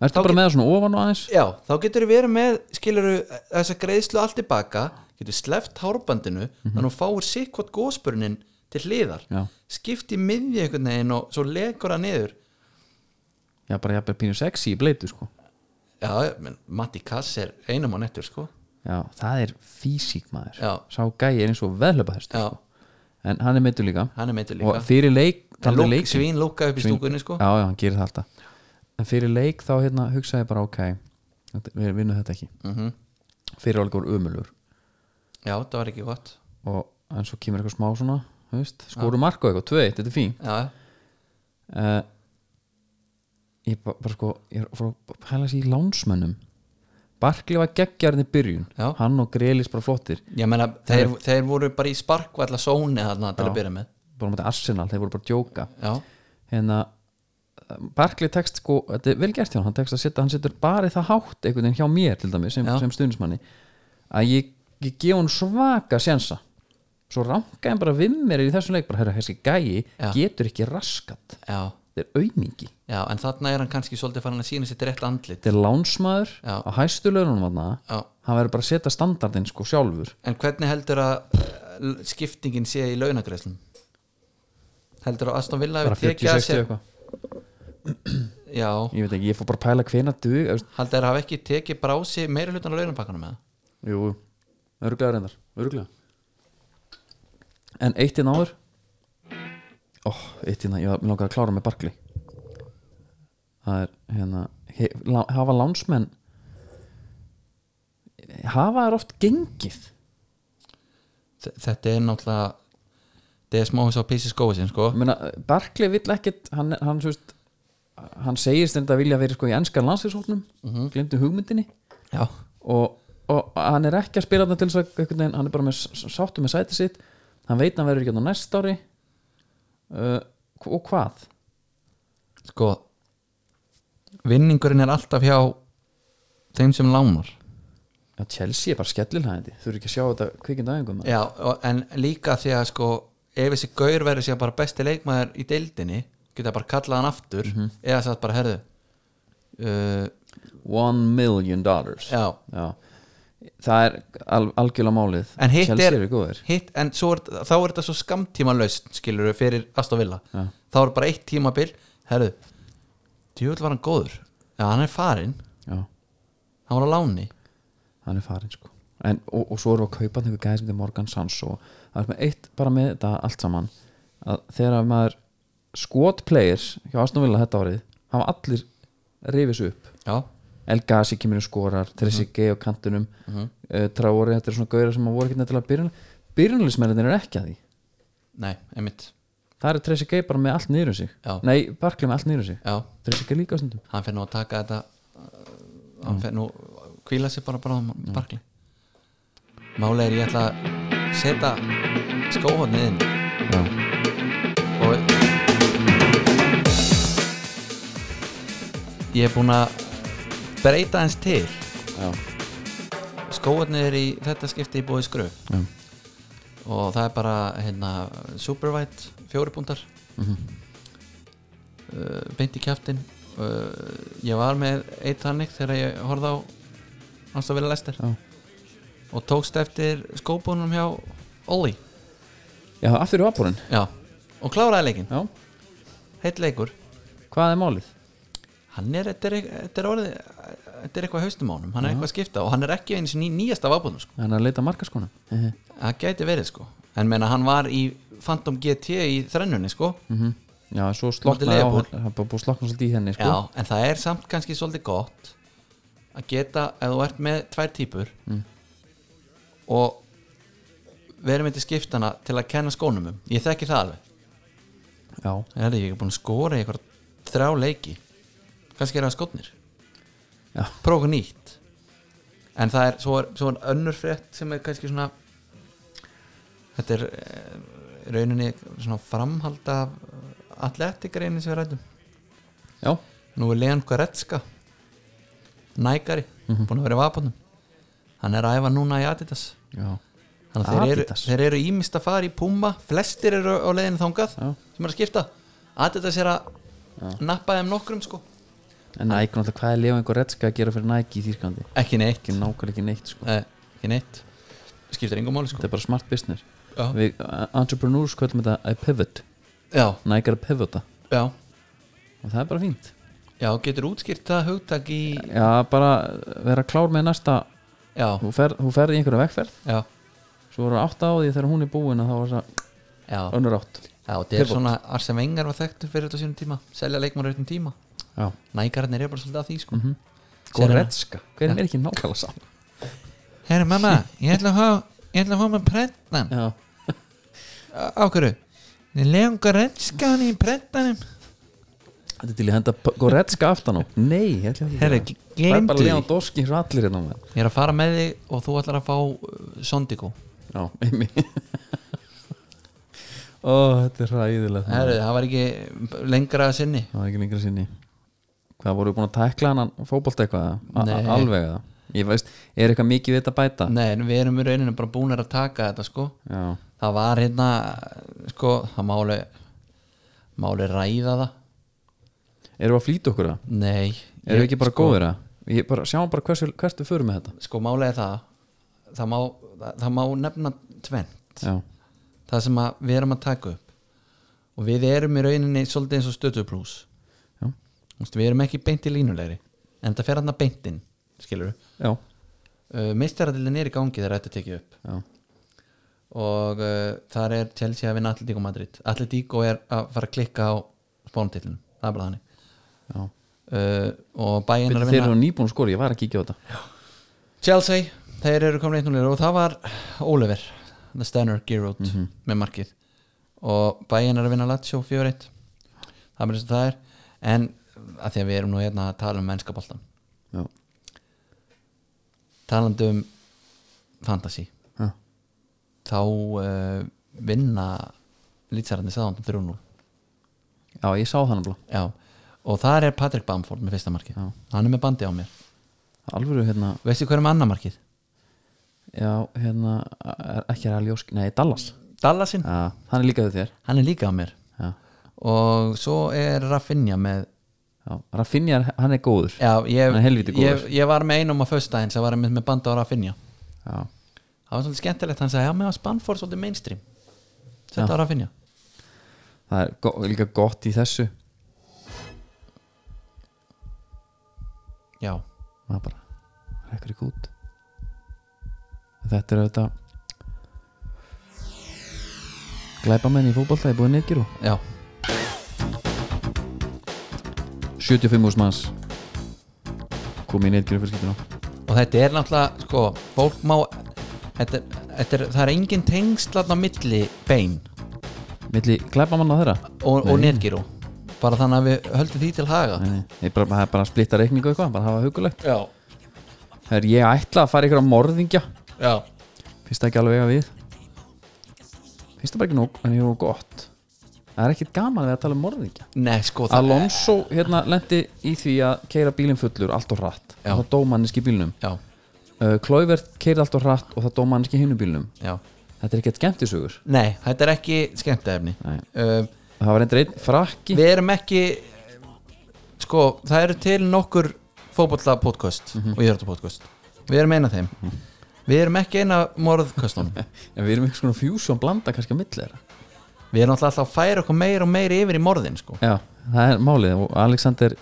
Ertu bara með það svona ofan og aðeins
já, þá getur verið með skiluru þessa greiðslu allt tilbaka getur sleft hárbandinu þannig að þú fáir sikkvot gósbörnin til hliðar
Mhm. Já.
skipti miðji einhvern veginn og svo legur það niður
Já, bara jafnvel pínu sexy í bleitu sko
já, menn, Matti Kass er einum á nettur sko
Já, það er físík maður
Já.
Sá gæi er eins og veðlöpa hestur
já,
En hann er meittur líka
hann er meintur líka
Sko. Og fyrir leik,
En
talandi um
lúk,
leikinn-
svín lúka upp í stúkunni sko
Já, já, hann gerir það alltaf En fyrir leik þá hérna hugsaði ég bara ok þetta- Við vinnum þetta ekki mm -hmm. Fyrir alveg voru ömulur
Mhm. Já, það var ekki gott
Og en svo kemur eitthvað smá svona þú veist, Skoru mark og eitthvað, tvö eitt, þetta er fín
Já,
uh, ég bara, bara sko ég er að fara að pæla sér í lánsmönnum Barkley var geggjarinn í byrjun
Já.
hann og Grelis bara flottir
ég meina, þeir, þeir voru bara í sparkvalla sóni þarna til að byrja með
bara mútið Arsenal, þeir voru bara að djóka
Já,
hérna Barkley tekst sko, þetta er vel gert hjá hann hann, tekst að setja, hann setur bara í það hátt einhvern veginn hjá mér til dæmi sem,
Já.
sem stuðnismanni að ég, ég gef hann svaka sjensa svo ranka hann bara við mér í þessum leik bara, herra, þessi gæi
Já.
getur ekki raskat
já,
þetta er aumingi
já En þarna er hann kannski svolítið farin að sína sér rétt andlit
þetta er lánsmaður
Já.
á hæstu laununum þarna
Já.
hann verður bara að setja standardinn sko sjálfur
En hvernig heldur að eh, skiptingin sé í launagreislum? Heldur að Aston Villa
bara
hefur tekið að
40-60
sér
eitthvað
Já,
ég veit ekki, ég fór bara að pæla hvena dug jú,
heldur að hafa ekki tekið brási meira hlutan á launapakkanum eða?
jú, örglega reyndar örglega en eitt inn áður ó, eitt inn að, ég langar að klára með barkli það er hérna he, lá, hafa lánsmenn hafa er oft gengið
Þ- Þetta er náttúrulega Þetta er smá eins og písi skói sin sko
Ég meina, Barkley vill ekkit hann, hann, svo veist, hann segist þetta vilja verið sko í enskan landslýshóknum mm
Mhm.
-hmm. glemdu hugmyndinni
Já,
og, og hann er ekki að spila þetta til þess að einhvern veginn, hann er bara með s- sáttu með sæti sitt hann veit að hann verður ekki á næst ári uh, og hvað?
sko vinningurinn er alltaf hjá þeim sem lánar
Já, Chelsea er bara skellilhæðandi þú eru ekki að sjá þetta kvikind aðingum
já, og- en líka því að sko ef þessi gaur verður síðan bara besti leikmaður í deildinni, geta bara kallað hann aftur eða satt bara herðu uh,
one million dollars
já,
það er al algjörlega málið
en hitt
Chelsea
er,
eru góðir
hitt, en svo er, þá er þetta svo skamtíma laust skilur við fyrir Aston Villa
Já.
þá er bara eitt tímabil, herðu djúvel var hann góður já, hann er farinn,
já,
hann var á láni
hann er farin sko en, og, og svo eru að kaupa einhver gæði sem þetta Morgan Sanso það er með eitt bara með þetta allt saman að þegar að maður skot players hjá Aston Villa þetta árið hafa allir rifis upp
já,
El Gassi kemur í skorar Tressi G á kantinum mm Traori, þetta er svona gauðar sem maður voru ekki nættilega byrjun byrjunlismennir er ekki að því
nei, einmitt
þar er Tracy Gay bara með allt niður um sig
Já.
nei, Barkley með allt niður um sig
já,
Tracy Gay líka á stundum
hann fyrir nú að taka þetta uh, hann fyrir nú kvíla sér bara bara á barkli málega er ég ætla að setja skóhóðnið inn
já.
og ég er búinn að breyta hans til
Já.
skóðarnir er í þetta skipti í bóði skröf
Já.
og það er bara hérna, supervætt fjóri púntar uh, beint í kjaftin uh, ég var með eitt hannig þegar ég horfði á hans að vilja lestir
Já.
og tókst eftir skópunum hjá Olli
já, aftur í vaporinn
Já. og kláraði leikinn,
já.
heitt leikur
hvað er málið?
hann er, þetta er, þetta er orðið þetta er eitthvað haustum á honum, hann er eitthvað að skipta og hann er ekki eins og ný, nýjasta vafbúðum sko.
hann er að leita markaskona já,
það gæti verið sko en meina hann var í Phantom GT í þrennunni sko,
svo
Móti
sloknaði á
Liverpool.
hann hann bara búið slokna svolítið í henni sko.
já, en það er samt kannski svolítið gott að geta ef þú ert með tvær típur
Mm.
og verið með til skiptana til að kenna skónum um ég þekki það alveg,
já.
er það ekki búin að skora í eitthvað þrjá leiki kannski er það skotnir
Já.
prófa eitthvað nýtt en það er svo, er svo er önnur frétt sem er kannski svona þetta er eh, rauninni svona framhald af atletikreinin sem við rættum
já,
nú er Leon Goretzka nækari,
Mhm.
búin að vera í vapunum hann er að æfa núna í Adidas
já,
þannig að þeir eru,
Adidas?
þeir eru ímist að fara í Puma flestir eru á leiðinu þangað
Já.
sem er að skipta Adidas er að nappa þeim nokkrum sko
en Nike náttúrulega hvað er Leon einhver rettska að gera fyrir Nike í þýrkandi
ekki neitt,
ekki nákvæmlega ekki neitt sko.
Eh, ekki neitt skiptir engum máli sko
þetta er bara smart business
Já.
við uh, entrepreneurs kvöldum þetta að pivot
já,
Nike er að pivota
já,
og það er bara fínt
já, getur útskýrt það hugtak í
já, bara eh, vera klár með næsta
já,
þú fer, þú fer í einhverja vegferð
já,
svo voru átt á því þegar hún er búin að þá var það
já,
önnur átt
já það er svona Arsene Wenger var þekktur fyrir þetta á sínum tíma selja leikmann rautum tíma
já,
nægarnir er bara svolítið að því sko Sérðu hana?
Mhm. Goretzka hverjum er ekki nákvæmlega saman
herri mamma, ég ætla að fá ég ætla að fá með prentan
já,
á hverju Leon Goretzka hann í prentanum
þetta er til að henda P- Goretzka aftan á nei, ég ætla ekki að
Herra,
gera það.
gleymdu
það er bara
því.
Leon Dorski eins og allir hérna maður.
ég er að fara með þig og þú ætlar að fá uh, Sondigo
já, einmi ó, þetta er ræðilegt maður.
herri, það var ekki lengra að sinni
það var ekki lengra sinni hvað voru búin að tækla hann fótbolt eitthvað eða? A-
Nei.
a- alveg eða? ég veist, er eitthvað mikið við þetta að bæta
nei, en við erum í rauninu bara búinir að taka þetta sko
já,
það var hérna sko, það máli máli ræða það
erum við að flýta okkur það
nei,
erum við ekki bara góðir það ég bara, sjáum bara hversu, hvert við förum með þetta
sko máli er það það má, það, það má nefna tvennt
já,
það sem að við erum að taka upp og við erum í rauninni svolítið eins og stötuplús
Já.
við erum ekki beint í línulegri en það fer hann að beintinn skilur við
já,
uh, meistaradildin er í gangi þegar þetta er tekið upp
já,
og uh, þar er Chelsea að vinna Atletico Madrid Atletico er að fara að klikka á spánutillinu, það er bara þannig
já.
uh, og bæinn er að
þeir
vinna
eru nýbúin að skora, ég var að kíkja á þetta
Chelsea, þeir eru komin 1-0 og það var Oliver the Stanner Giroud með markið og bæinn er að vinna Lazio 4-1 það er bara eins og það er en að því að við erum nú hérna að tala um mennskaboltan
já,
talandi um fantasy
já,
þá uh, vinna lýtsararnir sáðan 3-0
já ég sá þannig blá
Já, og þar er Patrick Bamford með fyrsta markið,
Já.
hann er með bandi á mér
alvöru hérna,
veistu hver er með annar markið?
já, hérna er- ekki er alveg nei, Dallas
Dallasinn,
já, hann er líka við þér
hann er líka á mér
já,
og svo er Rafinha með
já, Raffinja, hann er góður
já, ég,
Hann er helvíti góður.
ég, ég var með einum á föstudaginn sem var með, með bandi á Rafinha
já,
það var svolítið skemmtilegt, hann sagði já, með að Spanford svolítið mainstream þetta á Rafinha
það er go líka gott í þessu
já,
maður bara rekkur ekki út þetta er auðvitað glæpamenn í fótbolta er búin neittgjöru
já,
75 úrs manns komið í neittgjöru fyrir skiptuna
og þetta er náttúrulega sko, fólk má þetta, er- þetta er, það er engin tengsl þarna á milli bein
milli glæpamanna þeirra
og, og netgíró bara þannig að við höldum því til haga
Nei, nei, ég bara, það er bara að splitta reikningu eitthvað bara hafa hugulegt
já,
Þegar ég ætla að fara ykkur á morðingja
já,
finnst það ekki alveg að við finnst það bara ekki nóg en ég er gott það er ekkit gaman við að tala um morðingja
nei sko það
Alonso hérna lendi í því að keira bílinn fullur allt og hratt
Já.
og það dó manneski bílnum
já,
uh, Klóivert keiri allt og hratt og það dó manneski hinu bílnum
já,
þetta er ekkert skemmtisögur
nei, þetta er ekki skemmtefni
Nei.
um,
það var endur einn frakki
við erum ekki sko, það eru til nokkur fótbolla podcast og íþjóttu podcast við erum eina af þeim við erum ekki eina morðkastunum
en við erum eitthvað svona fusion blanda kannski að milli þeirra
við erum alltaf að færa okkur meir og meir yfir í morðin sko.
Já, það er málið og Alexander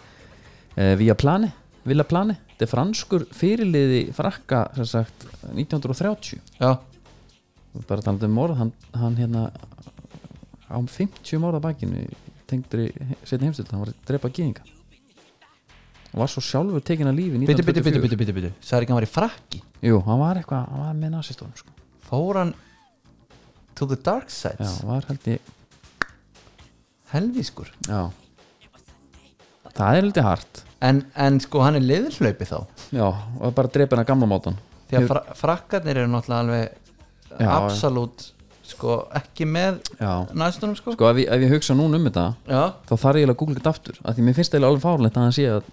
eh, Villa Plani Villa Plani, þetta er franskur fyrirliði frakka sem sagt 1930
já,
bara talandi um morð, hann, hann hérna ám 50 morð að bakinu tengdri setni heimstöld hann var að drepa gýðinga og var svo sjálfur tekin að lífi
byttu,
1924
byttu, byttu, byttu, byttu, byttu sagði ekki hann var í frakki
Jú, hann var eitthvað, hann var með nasistónum sko.
fór hann to the dark
Já,
sides
var held ég
helvískur
Já Það er held ég hart
en, en sko hann er liðurhlaupi þá
Já, og bara drepa hann að gamla mátan
því að fra frakkarnir eru náttúrulega alveg
Já, já.
absolutt sko ekki með
Já.
næstunum sko,
Sko, ef ég, ef ég hugsa núna um þetta
Já,
þá þarf ég eiginlega að googla þetta aftur af því mér finnst það alveg fárlegt að hann sé að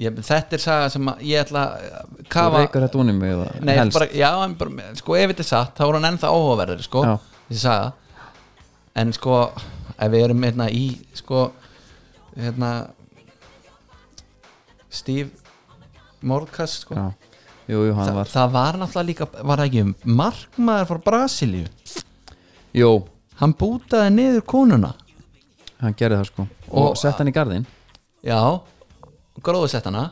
ég, þetta er saga sem að ég ætla að
þú
kafa
reykar þetta vonum eða
Nei,
helst
bara, já, en bara, sko ef þetta er satt þá er hann ennþá áhugaverður sko,
Já.
þessi saga en sko ef við erum hérna í sko hérna Steve Mordkast sko
Já. Jú, jú, hann
Þa,
var
það var náttúrulega líka, var það ekki um markmaður frá Brasilíu
Jú,
hann bútaði niður konuna
hann gerði það sko og,
Og-
sett hann í garðin
já, gróðsett hana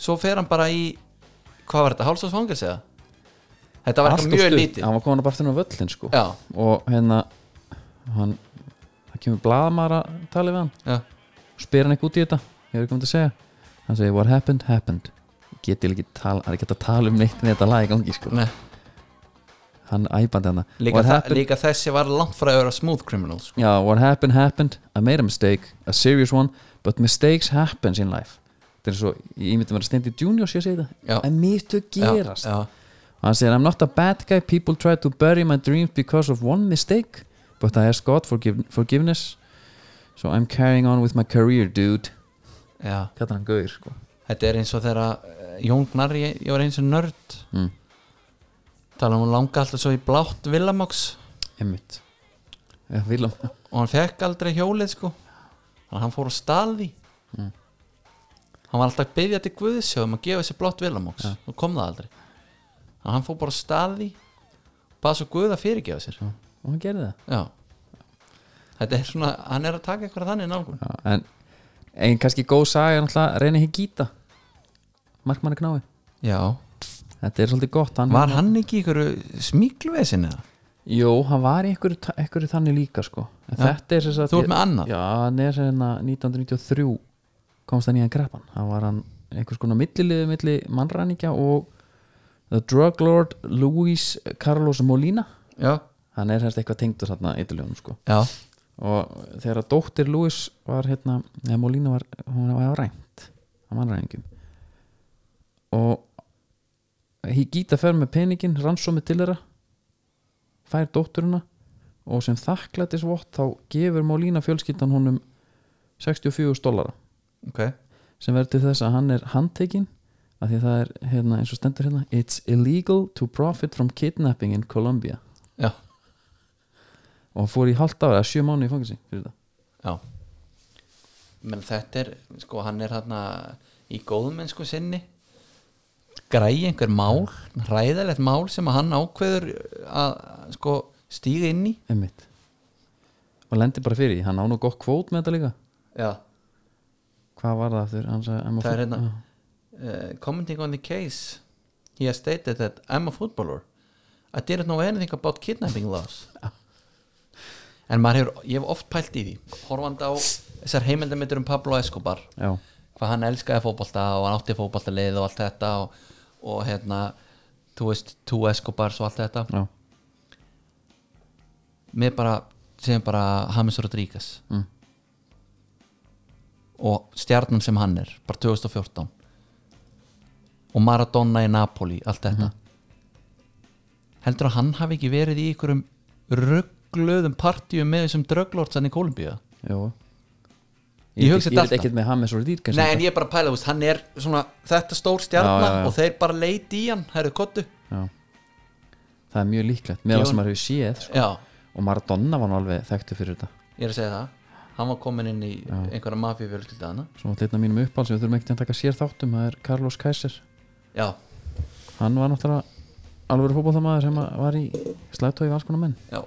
svo fer hann bara í hvað var þetta, hálsásfangils eða? þetta var eitthvað mjög lítið
hann var komin að bara þennan á völlin sko
já,
og hérna hann, það kemur blaðmar að tala við hann
já,
spyr hann eitthvað út í þetta, ég er ekki um að segja hann segir what happened, happened geti ekki tala, hann er ekki hægt að tala um neitt með þetta lag í gangi sko,
nei
hann æpandi hann
Líka, þa- líka þessi var langt frá að vera smooth criminal sko.
Já, what happened happened, I made a mistake a serious one, but mistakes happens in life þetta er svo, ég myndi mér að stendi junior sé að segja
Já.
þetta, að mistök gerast
já,
og hann segir, I'm not a bad guy people try to bury my dreams because of one mistake but I ask God forgive, forgiveness so I'm carrying on with my career dude
já, já.
hvað er hann gauður, sko
Þetta er eins og þegar uh, Jón Gnarr, ég, ég var eins og nörd
Mm.
tala um hún langa alltaf svo í blátt Villamox
emmitt Já, Willem.
og hann fekk aldrei hjólið sko þannig að hann fór og stal því hann var alltaf að byggja til Guðsjóðum að gefa sér blátt Villamox og kom það aldrei þannig að hann fór bara að stal því bara svo Guð að fyrirgefa sér já.
og hann gerði það
þetta er svona, hann er að taka eitthvað þannig nálgun
Já, en einn kannski góð saga er náttúrulega reyni Higita markmanni knái,
já,
þetta er svolítið gott hann
Var hann ekki í einhverju smíkluvesin eða?
Jó, hann var í einhverju, ta- einhverju þannig líka sko. En
Já.
þetta er sem sagt
Þú ert með annað?
Já, hann er sem hérna 1993 komst hann í hann kreppan hann var hann einhvers konar milliliðu milli mannræningja og The Drug Lord Luis Carlos Molina
Já,
hann er hérst eitthvað tengdur þarna ytterlegum sko.
já,
og þegar að dóttir Luis var hérna, eða Molina var hún var rænt á mannræningum og Higita fer með peningin rannsómið til þeirra fær dótturina og sem þakklætisvott þá gefur Mólína fjölskyldan honum 64 dollara
ok
sem verður til þess að hann er handtekinn af því að það er hérna, eins og stendur hérna It's illegal to profit from kidnapping in Colombia
Já,
og hann fór í halvt ára, eða sjö mánu í fangelsi fyrir þetta
já Menn þetta er, sko, hann er hann í góðmennsku sinni græi einhver mál ræðilegt mál sem að hann ákveður að, sko, stíga inn í
Einmitt. og lendir bara fyrir því, hann á nú gott kvót með þetta líka
Já
hvað var það aftur, hann sagði I'm a
Það er
fool-
hérna uh, Commenting on the case He has stated that I'm a footballer I didn't know anything about kidnapping laws En maður hefur Ég hef oft pælt í því Horfandi á þessar heimildamindur um Pablo Escobar
Já. Já.
Hvað hann elskaði fótbolta og hann átti fótbolta og allt þetta og, og hérna Þú veist, tú Escobars og allt þetta
Já.
Mér bara sem bara James Rodríguez og stjarnan sem hann er bara 2014 og Maradona í Napoli allt þetta heldur að hann hafi ekki verið í einhverjum ruggluðum partíum með þessum dröglortsan í Kolumbíu
Jó
Ég hugsa
Ég veit
þetta.
ekkert með Hames og Dýrkar
Nei, en ég er bara að pæla, þú veist, hann er svona þetta stór stjarnar
Já, já, já.
og þeir bara leiti í hann, herðu kottu
Já. Það er mjög líklegt með
Ég
það sem
var-
maður hefur séð sko.
Já,
og Maradona var nú alveg þekktu fyrir þetta
ég er að segja það hann var komin inn í einhverja mafíufjölskyldu hana
Svo allir einn af mínum uppáhald sem við þurfum ekkert að taka sér þáttum það er Carlos Kaiser
Já,
Hann var náttúrulega alveg fótbollamaður sem að var í slagtói við alls konar menn
já,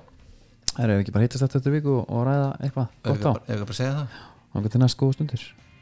Það eru ekki bara hittast þetta eftir viku og, og ræða eitthvað
ef ég
gott á
bara, ef ég bara segja það
og til næst góða stundir